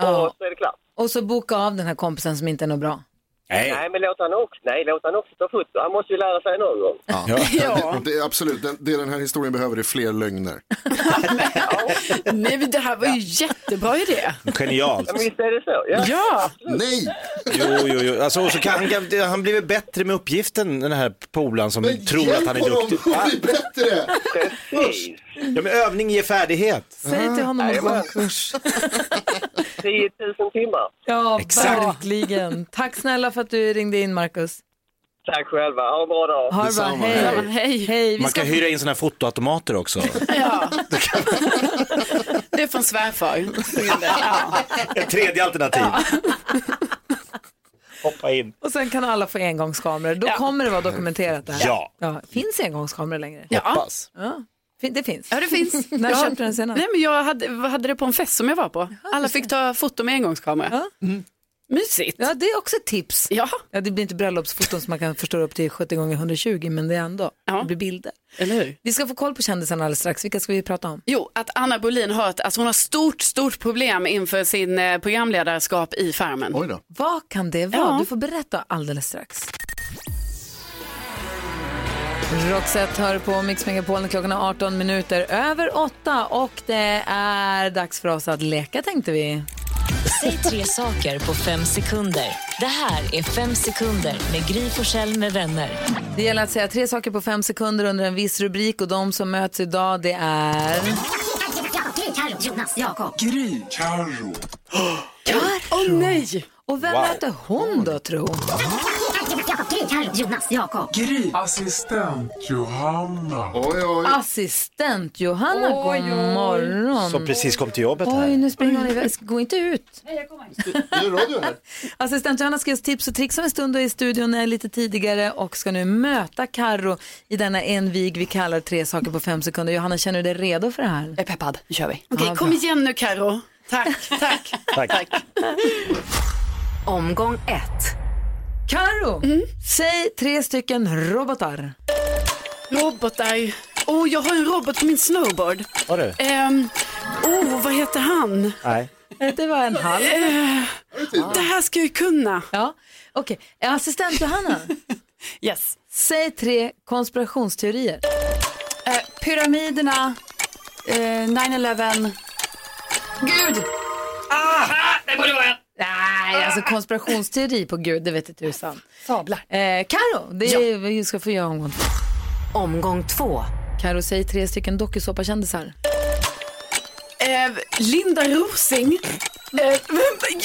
[SPEAKER 1] Ja.
[SPEAKER 10] Och så är det klart.
[SPEAKER 1] Och så boka av den här kompisen som inte är något bra.
[SPEAKER 4] Eh.
[SPEAKER 3] Nej.
[SPEAKER 10] men låt han också, nej, låt han också ta foto. Han måste ju lära sig någon gång.
[SPEAKER 2] Ja. Det, det är absolut, det, det den här historien behöver är fler lögner.
[SPEAKER 4] Nej, men det här var ju jättebra idé.
[SPEAKER 3] Genialt.
[SPEAKER 10] Visst är det så?
[SPEAKER 4] Ja.
[SPEAKER 2] Nej.
[SPEAKER 3] Jo, jo, jo. Alltså, och så kan, han, kan- han blir väl bättre med uppgiften, den här polaren som tror att han är duktig. Ja.
[SPEAKER 2] bli bättre!
[SPEAKER 3] Ja, men övning ger färdighet.
[SPEAKER 1] Säg till honom att gå en kurs.
[SPEAKER 10] 10 000 timmar.
[SPEAKER 1] Ja,
[SPEAKER 10] Exakt.
[SPEAKER 1] verkligen. Tack snälla för att du ringde in Markus.
[SPEAKER 10] Tack själva, ha en bra dag.
[SPEAKER 1] Ha det bra, hej. hej. Vi
[SPEAKER 3] Man
[SPEAKER 1] ska
[SPEAKER 3] kan hyra in sådana här fotoautomater också.
[SPEAKER 4] Det är från svärfar.
[SPEAKER 3] Ett tredje alternativ. Hoppa in.
[SPEAKER 1] Och sen kan alla få engångskameror. Då kommer det vara dokumenterat det här.
[SPEAKER 3] Ja.
[SPEAKER 1] Finns engångskameror längre?
[SPEAKER 4] Ja. Hoppas.
[SPEAKER 1] Ja. Fin- Det finns.
[SPEAKER 4] Ja, det finns.
[SPEAKER 1] När
[SPEAKER 4] Jag-
[SPEAKER 1] köpte du den senast?
[SPEAKER 4] Nej, men jag hade, hade det på en fest som jag var på. Alla fick ta foto med engångskamera. Mysigt.
[SPEAKER 1] Ja, det är också ett tips.
[SPEAKER 4] Ja.
[SPEAKER 1] ja, det blir inte bröllopsfoton som man kan förstöra upp till 70 gånger 120 men det är ändå, det blir bilder.
[SPEAKER 4] Eller hur?
[SPEAKER 1] Vi ska få koll på kändisarna alldeles strax. Vilka ska vi prata om?
[SPEAKER 4] Jo, att Anna Bolin har ett, alltså hon har stort, stort problem inför sin eh, programledarskap i Farmen. Oj
[SPEAKER 2] då.
[SPEAKER 1] Vad kan det vara?
[SPEAKER 4] Ja.
[SPEAKER 1] Du får berätta alldeles strax. Roxette hör på Mix Megapol. Klockan är 18 minuter över 8 och det är dags för oss att leka tänkte vi.
[SPEAKER 11] Säg tre saker på fem sekunder. Det här är Fem sekunder med Gry Forssell med vänner.
[SPEAKER 1] Det gäller att säga tre saker på fem sekunder under en viss rubrik och de som möts idag det är...
[SPEAKER 12] Gry, Carro, Jonas, Jakob.
[SPEAKER 1] Gry.
[SPEAKER 12] Carro.
[SPEAKER 1] Åh nej! Och vem
[SPEAKER 12] Wow.
[SPEAKER 1] möter hon då tro?
[SPEAKER 12] Gry, Carro, Jonas, Jakob. Gry. Assistent Johanna.
[SPEAKER 2] Oj, oj.
[SPEAKER 1] Assistent Johanna, god morgon.
[SPEAKER 3] Som precis kom till jobbet
[SPEAKER 1] Oj,
[SPEAKER 3] här.
[SPEAKER 1] nu springer hon iväg. Gå inte ut.
[SPEAKER 2] Det är radio här.
[SPEAKER 1] Assistent Johanna ska ge oss tips och tricks om en stund och är i studion eh, lite tidigare och ska nu möta Karo i denna envig vi kallar tre saker på fem sekunder. Johanna, känner du dig redo för det här? Jag
[SPEAKER 4] är peppad. Nu kör vi. Okej,
[SPEAKER 1] Ja,
[SPEAKER 4] kom
[SPEAKER 1] bra.
[SPEAKER 4] igen nu Karo. Tack, tack.
[SPEAKER 3] Tack.
[SPEAKER 11] Omgång ett.
[SPEAKER 1] Karo, säg tre stycken robotar.
[SPEAKER 4] Robotar. Åh, jag har en robot på min snowboard.
[SPEAKER 3] Har du?
[SPEAKER 4] Ehm, Åh, vad heter han?
[SPEAKER 3] Nej.
[SPEAKER 1] Det var en halv.
[SPEAKER 4] Eh, det här ska jag ju kunna.
[SPEAKER 1] Ja, okej. Assistent Johanna.
[SPEAKER 4] yes.
[SPEAKER 1] Säg tre konspirationsteorier.
[SPEAKER 4] Eh,
[SPEAKER 13] pyramiderna, eh, 9-11. Gud!
[SPEAKER 1] Ah, det borde vara Nej, alltså konspirationsteori på Gud, det vet inte tusan. Sablar. Eh, Karo, det är vi ska få göra omgång två. Omgång två. Karo, säg tre stycken dokusåpakändisar.
[SPEAKER 4] Eh, Linda Rosing. Eh,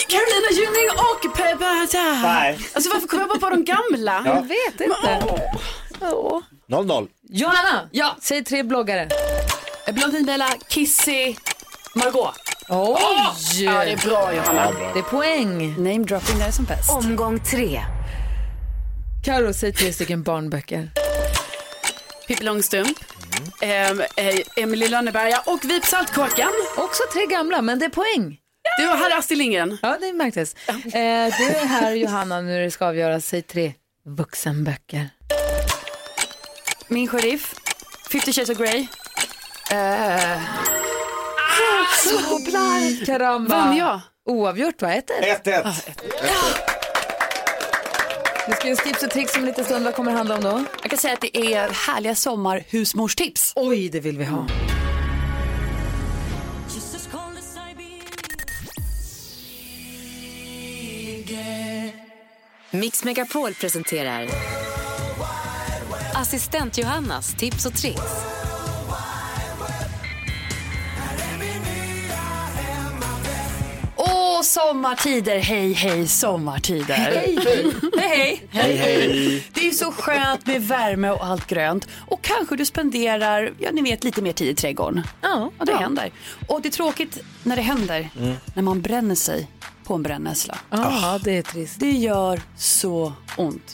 [SPEAKER 4] Carolina Gynning och Peppa
[SPEAKER 3] Nej.
[SPEAKER 4] Alltså varför kommer jag bara på de gamla?
[SPEAKER 3] Ja.
[SPEAKER 1] Jag vet inte. Åh.
[SPEAKER 3] 0-0.
[SPEAKER 1] Johanna, ja. säg tre bloggare.
[SPEAKER 13] Blondinbella, Kissy, Margot.
[SPEAKER 1] Oj!
[SPEAKER 13] Ja, det är bra, Johanna.
[SPEAKER 3] bra.
[SPEAKER 1] Det är poäng.
[SPEAKER 13] Name dropping där är som bäst.
[SPEAKER 1] Omgång tre. Karo, säg tre stycken barnböcker.
[SPEAKER 4] Pippi Långstrump. Ehm, eh, Emily Lönneberga och Vip Saltkråkan.
[SPEAKER 1] Också tre gamla, men det är poäng.
[SPEAKER 4] Du har Astrid Lindgren.
[SPEAKER 1] Ja, det märktes. Eh, du är här Johanna nu det ska avgöras. Säg tre vuxenböcker.
[SPEAKER 13] Min sheriff, 50 shades of Grey. Eh,
[SPEAKER 1] Så blankt! Karamba.
[SPEAKER 13] Vann jag?
[SPEAKER 1] Oavgjort va? 1-1.
[SPEAKER 3] 1-1.
[SPEAKER 1] Det ska ju tips och tricks om en liten stund. Vad kommer det handla om då?
[SPEAKER 13] Jag kan säga att det är härliga sommarhusmorstips.
[SPEAKER 1] Oj, det vill vi ha.
[SPEAKER 11] Mix Megapol presenterar Assistent Johannas tips och tricks.
[SPEAKER 13] Åh, sommartider, hej hej sommartider. Hej hej. hej,
[SPEAKER 12] Hej, hej.
[SPEAKER 13] Det är ju så skönt med värme och allt grönt. Och kanske du spenderar, ja ni vet, lite mer tid i trädgården.
[SPEAKER 1] Ja,
[SPEAKER 13] Och det händer. Och det är tråkigt när det händer, när man bränner sig på en brännässla.
[SPEAKER 1] Ja, det är trist.
[SPEAKER 13] Det gör så ont.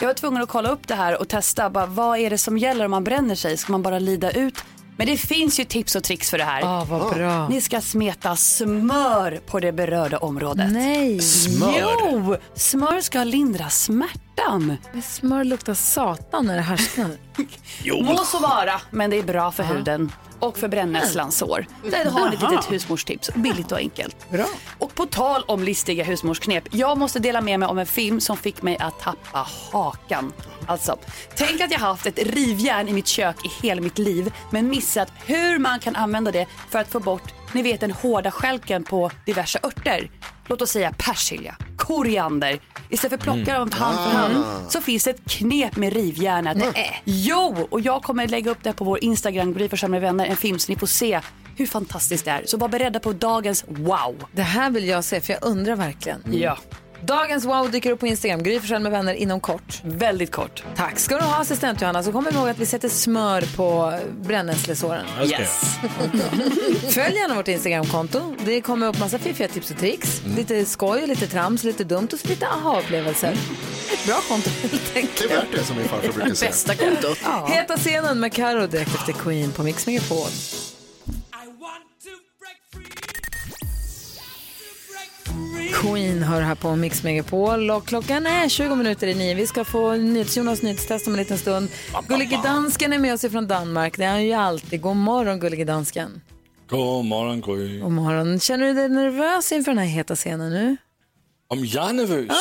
[SPEAKER 13] Jag var tvungen att kolla upp det här och testa. Bara, vad är det som gäller om man bränner sig? Ska man bara lida ut? Men det finns ju tips och tricks för det här.
[SPEAKER 1] Ah, vad bra.
[SPEAKER 13] Ni ska smeta smör på det berörda området.
[SPEAKER 1] Nej. Smör?
[SPEAKER 13] Jo, smör ska lindra smärtan.
[SPEAKER 1] Men smör luktar satan när det härsknar.
[SPEAKER 13] Må så vara, men det är bra för huden och för brännässlans sår. Där har ni ett
[SPEAKER 1] Jaha.
[SPEAKER 13] litet husmorstips. Billigt och enkelt. Bra. Och på tal om listiga husmorsknep. Jag måste dela med mig om en film som fick mig att tappa hakan. Alltså, tänk att jag haft ett rivjärn i mitt kök i hela mitt liv men missat hur man kan använda det för att få bort, ni vet den hårda skälken på diverse örter. Låt oss säga persilja, koriander. Istället för att plocka
[SPEAKER 12] Mm.
[SPEAKER 13] dem hand för hand
[SPEAKER 12] Ah.
[SPEAKER 13] så finns det ett knep med rivjärnet. Eh,
[SPEAKER 12] Nej.
[SPEAKER 13] Jo, och jag kommer lägga upp det här på vår Instagram, Gry Forssell med vänner, en film så ni får se hur fantastiskt det är. Så var beredda på dagens wow.
[SPEAKER 1] Det här vill jag se för jag undrar verkligen.
[SPEAKER 13] Ja.
[SPEAKER 1] Dagens wow dyker upp på Instagram. Gry Forssell med vänner inom kort.
[SPEAKER 13] Väldigt kort.
[SPEAKER 1] Tack ska du ha assistent Johanna. Så kom ihåg att vi sätter smör på brännässlesåren.
[SPEAKER 12] Yes.
[SPEAKER 1] Följ gärna vårt Instagramkonto. Det kommer upp massa fiffiga tips och tricks. Lite skoj, lite trams, lite dumt och så lite aha-upplevelser. Ett bra konto helt
[SPEAKER 2] Det är
[SPEAKER 1] enkelt.
[SPEAKER 2] värt det som min farfar brukar säga.
[SPEAKER 1] Ja. Heta scenen med Karo direkt efter Queen på Mix Megapol. Queen hör här på Mix Megapol och klockan är 20 minuter i nio. Vi ska få NyhetsJonas nyhetstest om en liten stund. Gullige Dansken är med oss ifrån Danmark. Det är han ju alltid. God morgon Gullige Dansken.
[SPEAKER 14] God morgon Gry.
[SPEAKER 1] God morgon. Känner du dig nervös inför den här heta scenen nu?
[SPEAKER 14] Om jag är nervös?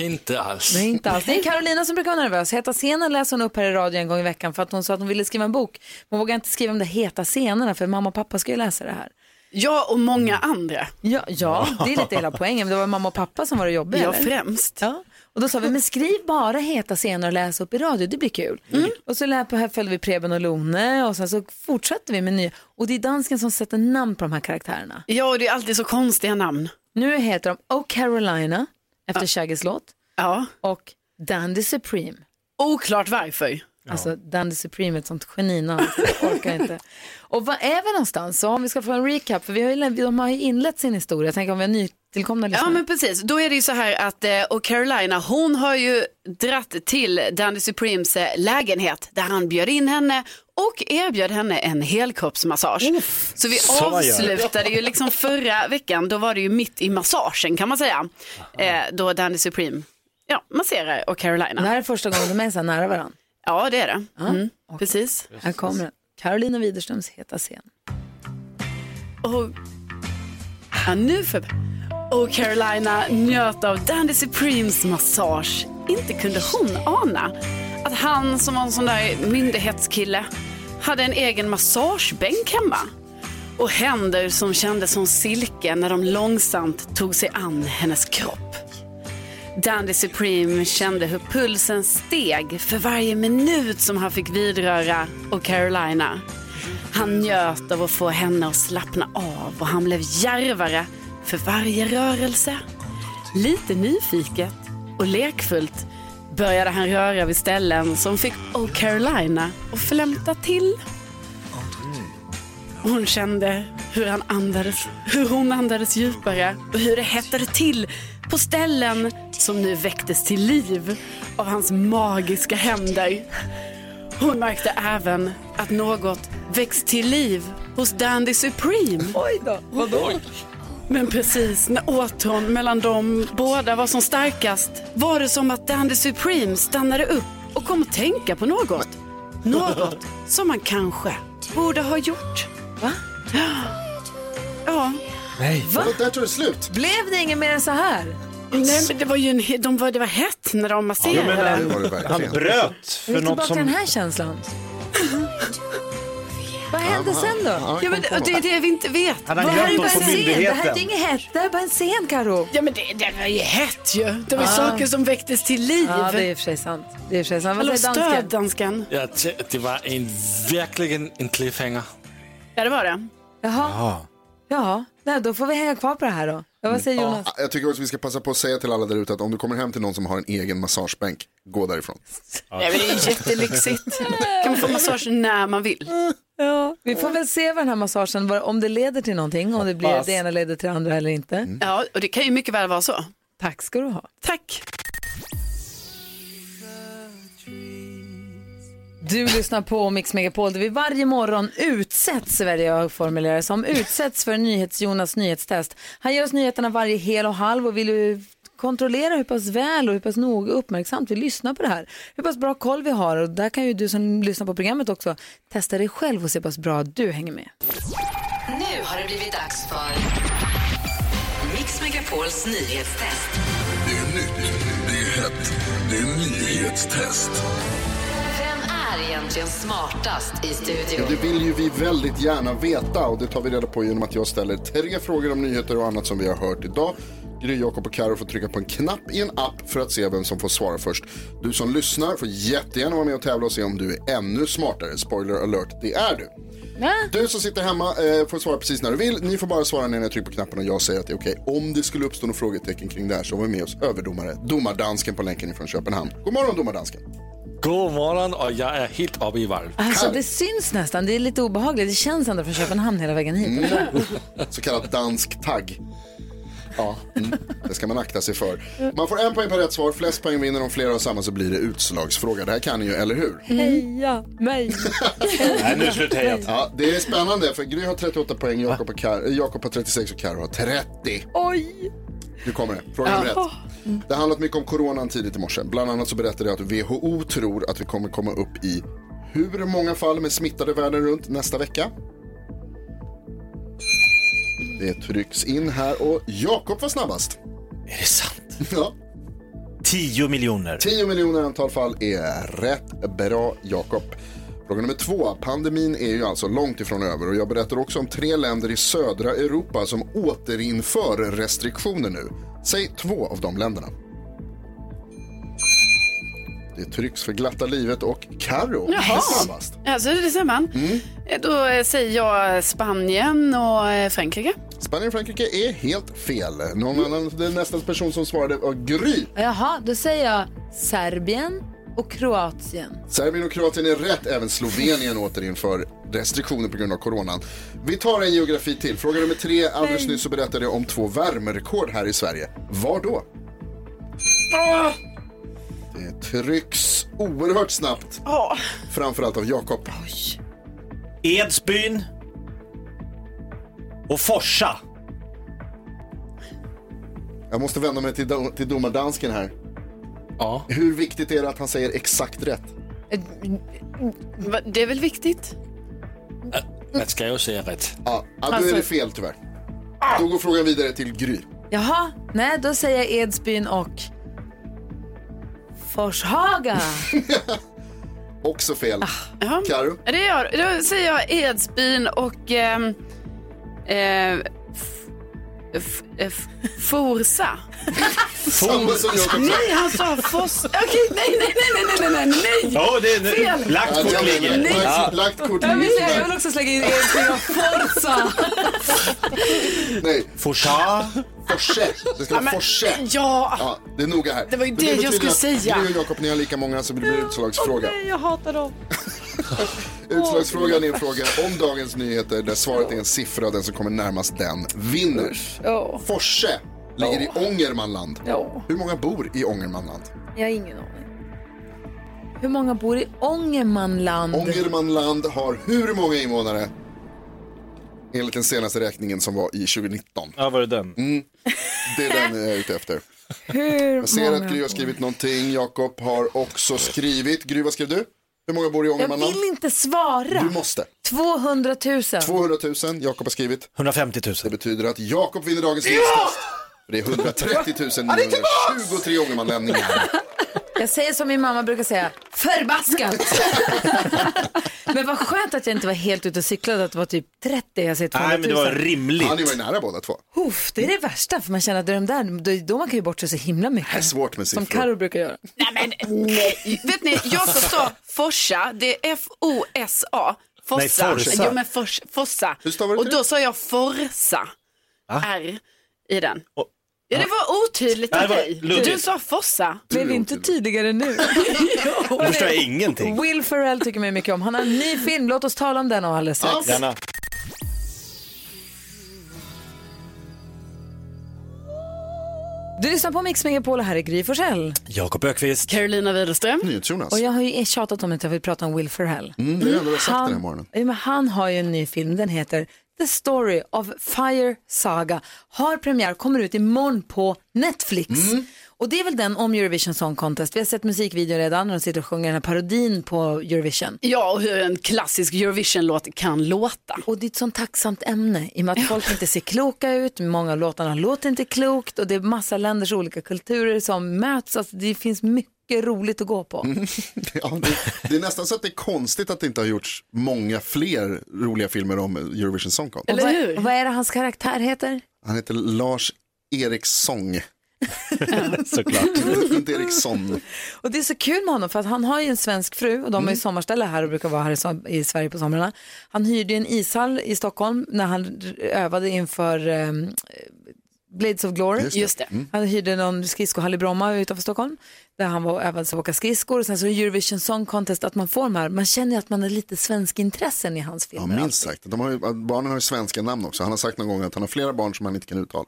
[SPEAKER 14] Inte alls.
[SPEAKER 1] Nej, inte alls. Det är Carolina som brukar vara nervös. Heta scenen läser hon upp här i radio en gång i veckan för att hon sa att hon ville skriva en bok. Hon vågar inte skriva om de heta scenerna för mamma och pappa ska ju läsa det här.
[SPEAKER 4] Jag och många andra.
[SPEAKER 1] Ja, ja det är lite hela poängen. Men det var mamma och pappa som var det jobbiga.
[SPEAKER 4] Ja,
[SPEAKER 1] eller?
[SPEAKER 4] främst.
[SPEAKER 1] Ja. Och då sa vi, men skriv bara heta scener och läs upp i radio, det blir kul. Och så lät på här följde vi Preben och Lone och sen så fortsatte vi med nya. Och det är dansken som sätter namn på de här karaktärerna.
[SPEAKER 4] Ja, och det är alltid så konstiga namn.
[SPEAKER 1] Nu heter de Oh Carolina efter Shaggy's låt och Dandy Supreme.
[SPEAKER 4] Oklart varför.
[SPEAKER 1] Alltså Dandy Supreme är ett sånt geninamn, så jag orkar inte. Och var är vi någonstans? Så om vi ska få en recap, för vi har ju, de har ju inlett sin historia, jag tänker om vi har nytillkomna
[SPEAKER 4] Ja
[SPEAKER 1] lyssnare.
[SPEAKER 4] men precis, då är det ju så här att eh, och Carolina hon har ju dratt till Danny Supremes eh, lägenhet där han bjöd in henne och erbjöd henne en helkroppsmassage. så vi
[SPEAKER 12] så man gör.
[SPEAKER 4] avslutade ju liksom förra veckan, då var det ju mitt i massagen kan man säga, eh, då Danny Supreme ja, masserar och Carolina.
[SPEAKER 1] Det här är första gången de är så här nära varandra.
[SPEAKER 4] Ja det är det, mm, precis.
[SPEAKER 1] Här kommer den. Carolina Widerströms heta scen.
[SPEAKER 4] Och, ja, nu för... och Carolina njöt av Dandy Supremes massage. Inte kunde hon ana att han som var en sån där myndighetskille hade en egen massagebänk hemma. Och händer som kändes som silke när de långsamt tog sig an hennes kropp. Dandy Supreme kände hur pulsen steg för varje minut som han fick vidröra och Carolina. Han njöt av att få henne att slappna av och han blev djärvare för varje rörelse. Lite nyfiket och lekfullt började han röra vid ställen som fick Oh Carolina att flämta till. Hon kände hur, han andades, hur hon andades djupare och hur det hettade till på ställen som nu väcktes till liv av hans magiska händer. Hon märkte även att något växt till liv hos Dandy Supreme.
[SPEAKER 1] Oj då, vadå?
[SPEAKER 4] Men precis när åtrån mellan dem båda var som starkast var det som att Dandy Supreme stannade upp och kom att tänka på något. Något som man kanske borde ha gjort. Va? Ja.
[SPEAKER 3] Nej.
[SPEAKER 4] Va?
[SPEAKER 2] Där tog det slut.
[SPEAKER 1] Blev det inget mer än så här?
[SPEAKER 4] Nej, men det var ju en, he- de var, det var hett när de masserade.
[SPEAKER 3] han bröt
[SPEAKER 1] Vi är
[SPEAKER 3] för
[SPEAKER 1] tillbaka
[SPEAKER 3] något
[SPEAKER 1] till den
[SPEAKER 3] som...
[SPEAKER 1] här känslan. Vad hände sen då?
[SPEAKER 4] Ja, men det det är det vi inte vet.
[SPEAKER 1] Han
[SPEAKER 3] har
[SPEAKER 4] Vad
[SPEAKER 3] glömt
[SPEAKER 4] hände
[SPEAKER 3] oss på
[SPEAKER 4] sen?
[SPEAKER 3] myndigheten.
[SPEAKER 1] Det här är ju inget hett, det här är bara en scen Karo.
[SPEAKER 4] Ja men det, det var ju hett ju. Det var
[SPEAKER 1] Ah.
[SPEAKER 4] saker som väcktes till liv.
[SPEAKER 1] Ja, det är i och för sig sant. Det är i och för sig sant. Vad
[SPEAKER 4] Hallå,
[SPEAKER 1] säger dansken?
[SPEAKER 4] stöd dansken.
[SPEAKER 14] Ja, t- det var en, verkligen en cliffhanger.
[SPEAKER 4] Ja, det var det.
[SPEAKER 1] Jaha, ja. Nej, då får vi hänga kvar på det här då. Ja, vad säger Jonas?
[SPEAKER 2] Jag tycker också vi ska passa på att säga till alla där ute att om du kommer hem till någon som har en egen massagebänk, gå därifrån.
[SPEAKER 4] Nej, men det är ju jättelyxigt. kan man få massage när man vill.
[SPEAKER 1] Ja, vi får väl se vad den här massagen, vad- om det leder till någonting, om det blir
[SPEAKER 4] Hoppas. Mm.
[SPEAKER 1] det ena leder till det andra eller inte.
[SPEAKER 4] Ja, och det kan ju mycket väl vara så.
[SPEAKER 1] Tack ska du ha.
[SPEAKER 4] Tack.
[SPEAKER 1] Du lyssnar på Mix Megapol där vi varje morgon utsätts, är vad jag formulerar det som, utsätts för NyhetsJonas nyhetstest. Han ger oss nyheterna varje hel och halv och vill ju kontrollera hur pass väl och hur pass noga och uppmärksamt vi lyssnar på det här. Hur pass bra koll vi har och där kan ju du som lyssnar på programmet också testa dig själv och se hur pass bra du hänger med.
[SPEAKER 15] Nu har det blivit dags för Mix Megapols nyhetstest.
[SPEAKER 16] Det är nytt, det är hett, det är nyhetstest.
[SPEAKER 15] Vem är egentligen smartast i
[SPEAKER 2] Ja, det
[SPEAKER 15] studion?
[SPEAKER 2] vill ju vi väldigt gärna veta och det tar vi reda på genom att jag ställer tre frågor om nyheter och annat som vi har hört idag. Gry, Jakob och Karo får trycka på en knapp i en app för att se vem som får svara först. Du som lyssnar får jättegärna vara med och tävla och se om du är ännu smartare. Spoiler alert, det är du. Du som sitter hemma eh, får svara precis när du vill. Ni får bara svara när jag trycker på knappen och jag säger att det är okej. Om det skulle uppstå några frågetecken kring det här så har vi med oss överdomare, domardansken på länken ifrån Köpenhamn. God morgon domardansken!
[SPEAKER 14] God morgon och jag är helt uppe i varv.
[SPEAKER 1] Alltså det syns nästan, det är lite obehagligt, det känns ända från Köpenhamn hela vägen hit.
[SPEAKER 2] Så kallad dansk tagg. Ja, mm. det ska man akta sig för. Man får en poäng per rätt svar, flest poäng vinner, om flera har samma så blir det utslagsfråga. Det här kan ni ju, eller hur?
[SPEAKER 1] Heja mig!
[SPEAKER 2] Nej, nu sluthejat. Ja, det är spännande, för Gry har 38 poäng, Jakob och Kar- eh, Jakob har 36 och Karo har 30.
[SPEAKER 1] Oj!
[SPEAKER 2] Nu kommer det, fråga nummer ett. Det har handlat mycket om coronan tidigt i morse. Bland annat så berättade jag att WHO tror att vi kommer komma upp i hur många fall med smittade världen runt nästa vecka? Det trycks in här och Jakob var snabbast.
[SPEAKER 3] Är det sant?
[SPEAKER 2] Ja.
[SPEAKER 3] 10 miljoner.
[SPEAKER 2] 10 miljoner antal fall är rätt bra, Jakob. Fråga nummer två. Pandemin är ju alltså långt ifrån över och jag berättar också om tre länder i södra Europa som återinför restriktioner nu. Säg två av de länderna. Det trycks för glatta livet och Carro är
[SPEAKER 4] Jaha.
[SPEAKER 2] snabbast.
[SPEAKER 4] Alltså, det ser man.
[SPEAKER 1] Mm.
[SPEAKER 4] Eh, Då eh, säger jag Spanien och eh, Frankrike.
[SPEAKER 2] Spanien och Frankrike är helt fel. Någon annan, det är nästa person som svarade var Gry.
[SPEAKER 1] Jaha, då säger jag Serbien och Kroatien.
[SPEAKER 2] Serbien och Kroatien är rätt, även Slovenien återinför restriktioner på grund av coronan. Vi tar en geografi till. Fråga nummer tre. Alldeles nyss så berättade jag om två värmerekord här i Sverige. Var då? Det trycks oerhört snabbt. Framförallt av Jakob.
[SPEAKER 3] Edsbyn och Forsa.
[SPEAKER 2] Jag måste vända mig till, do- till domardansken här.
[SPEAKER 14] Ja.
[SPEAKER 2] Hur viktigt är det att han säger exakt rätt?
[SPEAKER 4] Va, Det är väl viktigt?
[SPEAKER 14] Man ska ju säga rätt.
[SPEAKER 2] Ja, ja då
[SPEAKER 1] Alltså-
[SPEAKER 2] är det fel tyvärr. Då går frågan vidare till Gry.
[SPEAKER 1] Jaha, nej då säger jag Edsbyn och Forshaga.
[SPEAKER 2] Också fel.
[SPEAKER 4] Jaha.
[SPEAKER 2] Karo?
[SPEAKER 4] Ja, Det gör, då säger jag Edsbyn och ehm, eh, f- f- f- Forsa.
[SPEAKER 2] Samma som Jakob sa.
[SPEAKER 4] Nej, han sa Fors... Okej, nej, nej, nej, nej, nej, nej, nej.
[SPEAKER 3] Ja, det är nu-
[SPEAKER 4] Fel.
[SPEAKER 3] lagt kort ligger.
[SPEAKER 4] Nej.
[SPEAKER 3] Ja.
[SPEAKER 2] Lagt kort
[SPEAKER 1] Jag vill, säga- jag
[SPEAKER 2] ligger.
[SPEAKER 1] vill också slänga in Edsbyn och Forza.
[SPEAKER 2] Nej.
[SPEAKER 3] Forsa.
[SPEAKER 2] Forse. Det ska vara
[SPEAKER 4] Ja, men-
[SPEAKER 2] Forse.
[SPEAKER 4] Ja.
[SPEAKER 2] Ja, det är noga här.
[SPEAKER 4] Det var ju
[SPEAKER 2] Men
[SPEAKER 4] det jag
[SPEAKER 2] betyder
[SPEAKER 4] skulle
[SPEAKER 2] att
[SPEAKER 4] säga.
[SPEAKER 2] Gry och Jakob, ni har lika många så det blir utslagsfråga.
[SPEAKER 1] jag hatar dem.
[SPEAKER 2] Utslagsfrågan är en fråga om dagens nyheter där svaret är en siffra och den som kommer närmast den vinner. Forse ligger i Ångermanland. Hur många bor i Ångermanland?
[SPEAKER 1] Jag har ingen aning. Hur många bor i Ångermanland?
[SPEAKER 2] Ångermanland har hur många invånare? Enligt den senaste räkningen som var i 2019.
[SPEAKER 3] Ja, var det den?
[SPEAKER 2] Mm. Det är den jag är ute efter.
[SPEAKER 1] Hur
[SPEAKER 2] Jag ser att
[SPEAKER 1] många...
[SPEAKER 2] Gry har skrivit någonting. Jakob har också skrivit. Gry, vad skrev du? Hur många bor i
[SPEAKER 1] Jag
[SPEAKER 2] Ångermanland?
[SPEAKER 1] vill inte svara.
[SPEAKER 2] Du måste.
[SPEAKER 1] 200 000.
[SPEAKER 2] 200 000, Jakob har skrivit.
[SPEAKER 3] 150 000.
[SPEAKER 2] Det betyder att Jakob vinner dagens
[SPEAKER 1] Ja!
[SPEAKER 2] livstest. För det är 130
[SPEAKER 1] Han är
[SPEAKER 2] 923 Ångermanlänningar.
[SPEAKER 1] Jag säger som min mamma brukar säga, förbaskat. men vad skönt att jag inte var helt ute och cyklade, att det var typ 30, jag säger 200 000.
[SPEAKER 2] Ja, ni var ju nära båda två.
[SPEAKER 1] Uff, det är det värsta, för man känner att det är de där, då, då man kan ju bort sig så himla mycket.
[SPEAKER 2] Det är svårt med
[SPEAKER 1] Som
[SPEAKER 2] siffror.
[SPEAKER 1] Karo brukar göra.
[SPEAKER 4] Nej, men nej. Vet ni, Jakob sa Forsa, det är F-O-S-A.
[SPEAKER 1] Nej,
[SPEAKER 4] Fossa.
[SPEAKER 1] Forsa.
[SPEAKER 4] Jo, men fors, Fossa.
[SPEAKER 2] du
[SPEAKER 4] Och då sa jag Forsa. R i den. Ja, det var otydligt
[SPEAKER 1] Ja, det
[SPEAKER 4] av
[SPEAKER 1] var
[SPEAKER 4] dig.
[SPEAKER 1] luddigt.
[SPEAKER 4] Du sa Fossa.
[SPEAKER 1] Blev inte tydligare nu.
[SPEAKER 3] Nu förstår jag ingenting.
[SPEAKER 1] Will Ferrell tycker mig mycket om. Han har en ny film, låt oss tala om den alldeles strax.
[SPEAKER 3] Gärna.
[SPEAKER 1] Du lyssnar på Mix Megapol och här är Gry Forssell.
[SPEAKER 3] Jakob Ökvist.
[SPEAKER 4] Carolina Widerström.
[SPEAKER 2] NyhetsJonas.
[SPEAKER 1] Och jag har ju tjatat om att jag vill prata om Will Ferrell.
[SPEAKER 2] Mm, det är det enda du har sagt
[SPEAKER 1] han,
[SPEAKER 2] den här morgonen.
[SPEAKER 1] Ja, men han har ju en ny film, den heter The Story of Fire Saga. Har premiär, kommer ut imorgon på Netflix.
[SPEAKER 2] Mm.
[SPEAKER 1] Och det är väl den om Eurovision Song Contest. Vi har sett musikvideon redan när de sitter och sjunger den här parodin på Eurovision.
[SPEAKER 4] Ja, och hur en klassisk Eurovision-låt kan låta.
[SPEAKER 1] Och det är ett sånt tacksamt ämne i och med att folk inte ser kloka ut, många av låtarna låter inte klokt och det är massa länders olika kulturer som möts. Alltså, det finns mycket roligt att gå på.
[SPEAKER 2] Mm. Ja, det, det är nästan så att det är konstigt att det inte har gjorts många fler roliga filmer om Eurovision Song Contest.
[SPEAKER 1] och vad, hur? Vad är det hans karaktär heter?
[SPEAKER 2] Han heter Lars Eriksson.
[SPEAKER 3] Såklart.
[SPEAKER 2] inte Eriksson.
[SPEAKER 1] Och det är så kul med honom för att han har ju en svensk fru och de har ju sommarställe här och brukar vara här i, som- i Sverige på somrarna. Han hyrde ju en ishall i Stockholm när han r- övade inför ehm, Blades of Glory.
[SPEAKER 4] Just det. Just det. Mm.
[SPEAKER 1] Han hyrde någon skridskohall i Bromma utanför Stockholm där han var och övade sig att åka skridskor och sen så Eurovision Song Contest att man får de här, man känner ju att man har lite svensk intressen i hans
[SPEAKER 2] Ja,
[SPEAKER 1] filmer.
[SPEAKER 2] minst sagt. De har ju, barnen har ju svenska namn också. Han har sagt någon gång att han har flera barn som han inte kan uttala.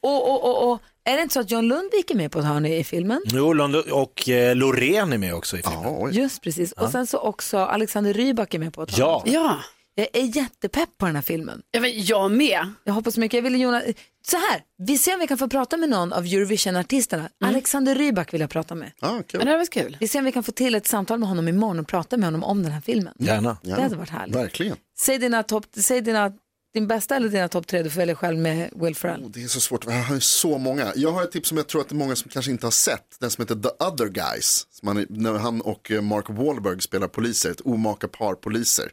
[SPEAKER 1] och, och, och, och är det inte så att John Lundvik är med på ett hörn i i filmen?
[SPEAKER 3] Jo, Lund- och eh, Loreen är med också i
[SPEAKER 2] Typ.
[SPEAKER 3] filmen.
[SPEAKER 1] Just precis.
[SPEAKER 3] Ja.
[SPEAKER 1] Och sen så också Alexander Rybak är med på ett
[SPEAKER 3] Ja.
[SPEAKER 1] hörn. Jag är jättepepp på den här filmen.
[SPEAKER 4] Jag, jag med.
[SPEAKER 1] Jag hoppas mycket. Jag vill Jonas... Så här, vi ser om vi kan få prata med någon av Eurovision-artisterna.
[SPEAKER 2] Mm.
[SPEAKER 1] Alexander Rybak vill jag prata med.
[SPEAKER 2] Ah, kul.
[SPEAKER 4] Men det här var kul.
[SPEAKER 1] Vi ser om vi kan få till ett samtal med honom imorgon och prata med honom om den här filmen.
[SPEAKER 3] Gärna.
[SPEAKER 1] Det hade varit härligt.
[SPEAKER 2] Verkligen.
[SPEAKER 1] Säg, dina topp, säg dina, din bästa eller dina topp tre, du får välja själv med Will Ferrell.
[SPEAKER 2] Och Det är så svårt, jag har ju så många. Jag har ett tips som jag tror att det är många som kanske inte har sett. Den som heter The Other Guys. Som han, när han och eh, Mark Wahlberg spelar poliser, ett omaka par poliser.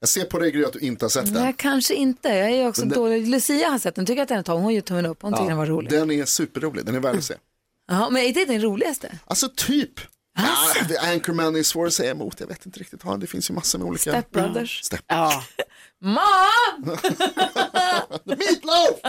[SPEAKER 2] Jag ser på dig Gry att du inte har sett den.
[SPEAKER 1] Nej, kanske inte. Jag är också
[SPEAKER 2] Men det-
[SPEAKER 1] dålig. Lucia har sett den, tycker att den är tom. Hon gör tummen upp, hon tycker den var rolig.
[SPEAKER 2] Den är superrolig, den är värd att se.
[SPEAKER 1] Jaha, men är det den roligaste?
[SPEAKER 2] Alltså typ. Ah, The Anchorman är svår att säga emot, jag vet inte riktigt. Ja, Det finns ju massor med olika.
[SPEAKER 1] Step Brothers.
[SPEAKER 2] Step.
[SPEAKER 4] Ja.
[SPEAKER 1] Ma!
[SPEAKER 2] Meatloaf!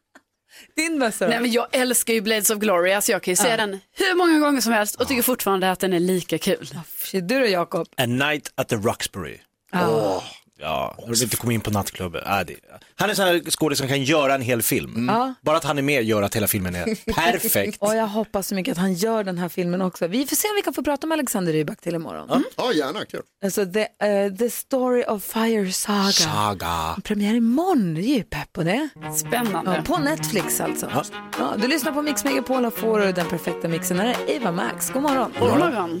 [SPEAKER 1] Din bästa då?
[SPEAKER 4] Nej, men jag älskar ju Blades of Glory, alltså jag kan ju se
[SPEAKER 1] Ja.
[SPEAKER 4] den hur många gånger som helst och tycker fortfarande att den är lika kul.
[SPEAKER 1] Du då Jakob?
[SPEAKER 3] A Night at the Roxbury.
[SPEAKER 1] Ah.
[SPEAKER 3] Ja, jag vill inte komma in på nattklubben. Ah, det... Han är sån här skådis som kan göra en hel film.
[SPEAKER 1] Ja.
[SPEAKER 3] Bara att han är med gör att hela filmen är perfekt.
[SPEAKER 1] Och jag hoppas så mycket att han gör den här filmen också. Vi får se om vi kan få prata med Alexander Rybak till imorgon. Mm.
[SPEAKER 2] Ja, gärna, kul.
[SPEAKER 1] Alltså the, eh, the Story of Fire Saga.
[SPEAKER 3] Saga.
[SPEAKER 1] Premiär imorgon, det är ju pepp på det.
[SPEAKER 4] Spännande.
[SPEAKER 1] Ja, på Netflix alltså. Ja. du lyssnar på Mix Megapol och får den perfekta mixen. Här är Eva Max, god morgon.
[SPEAKER 4] God morgon.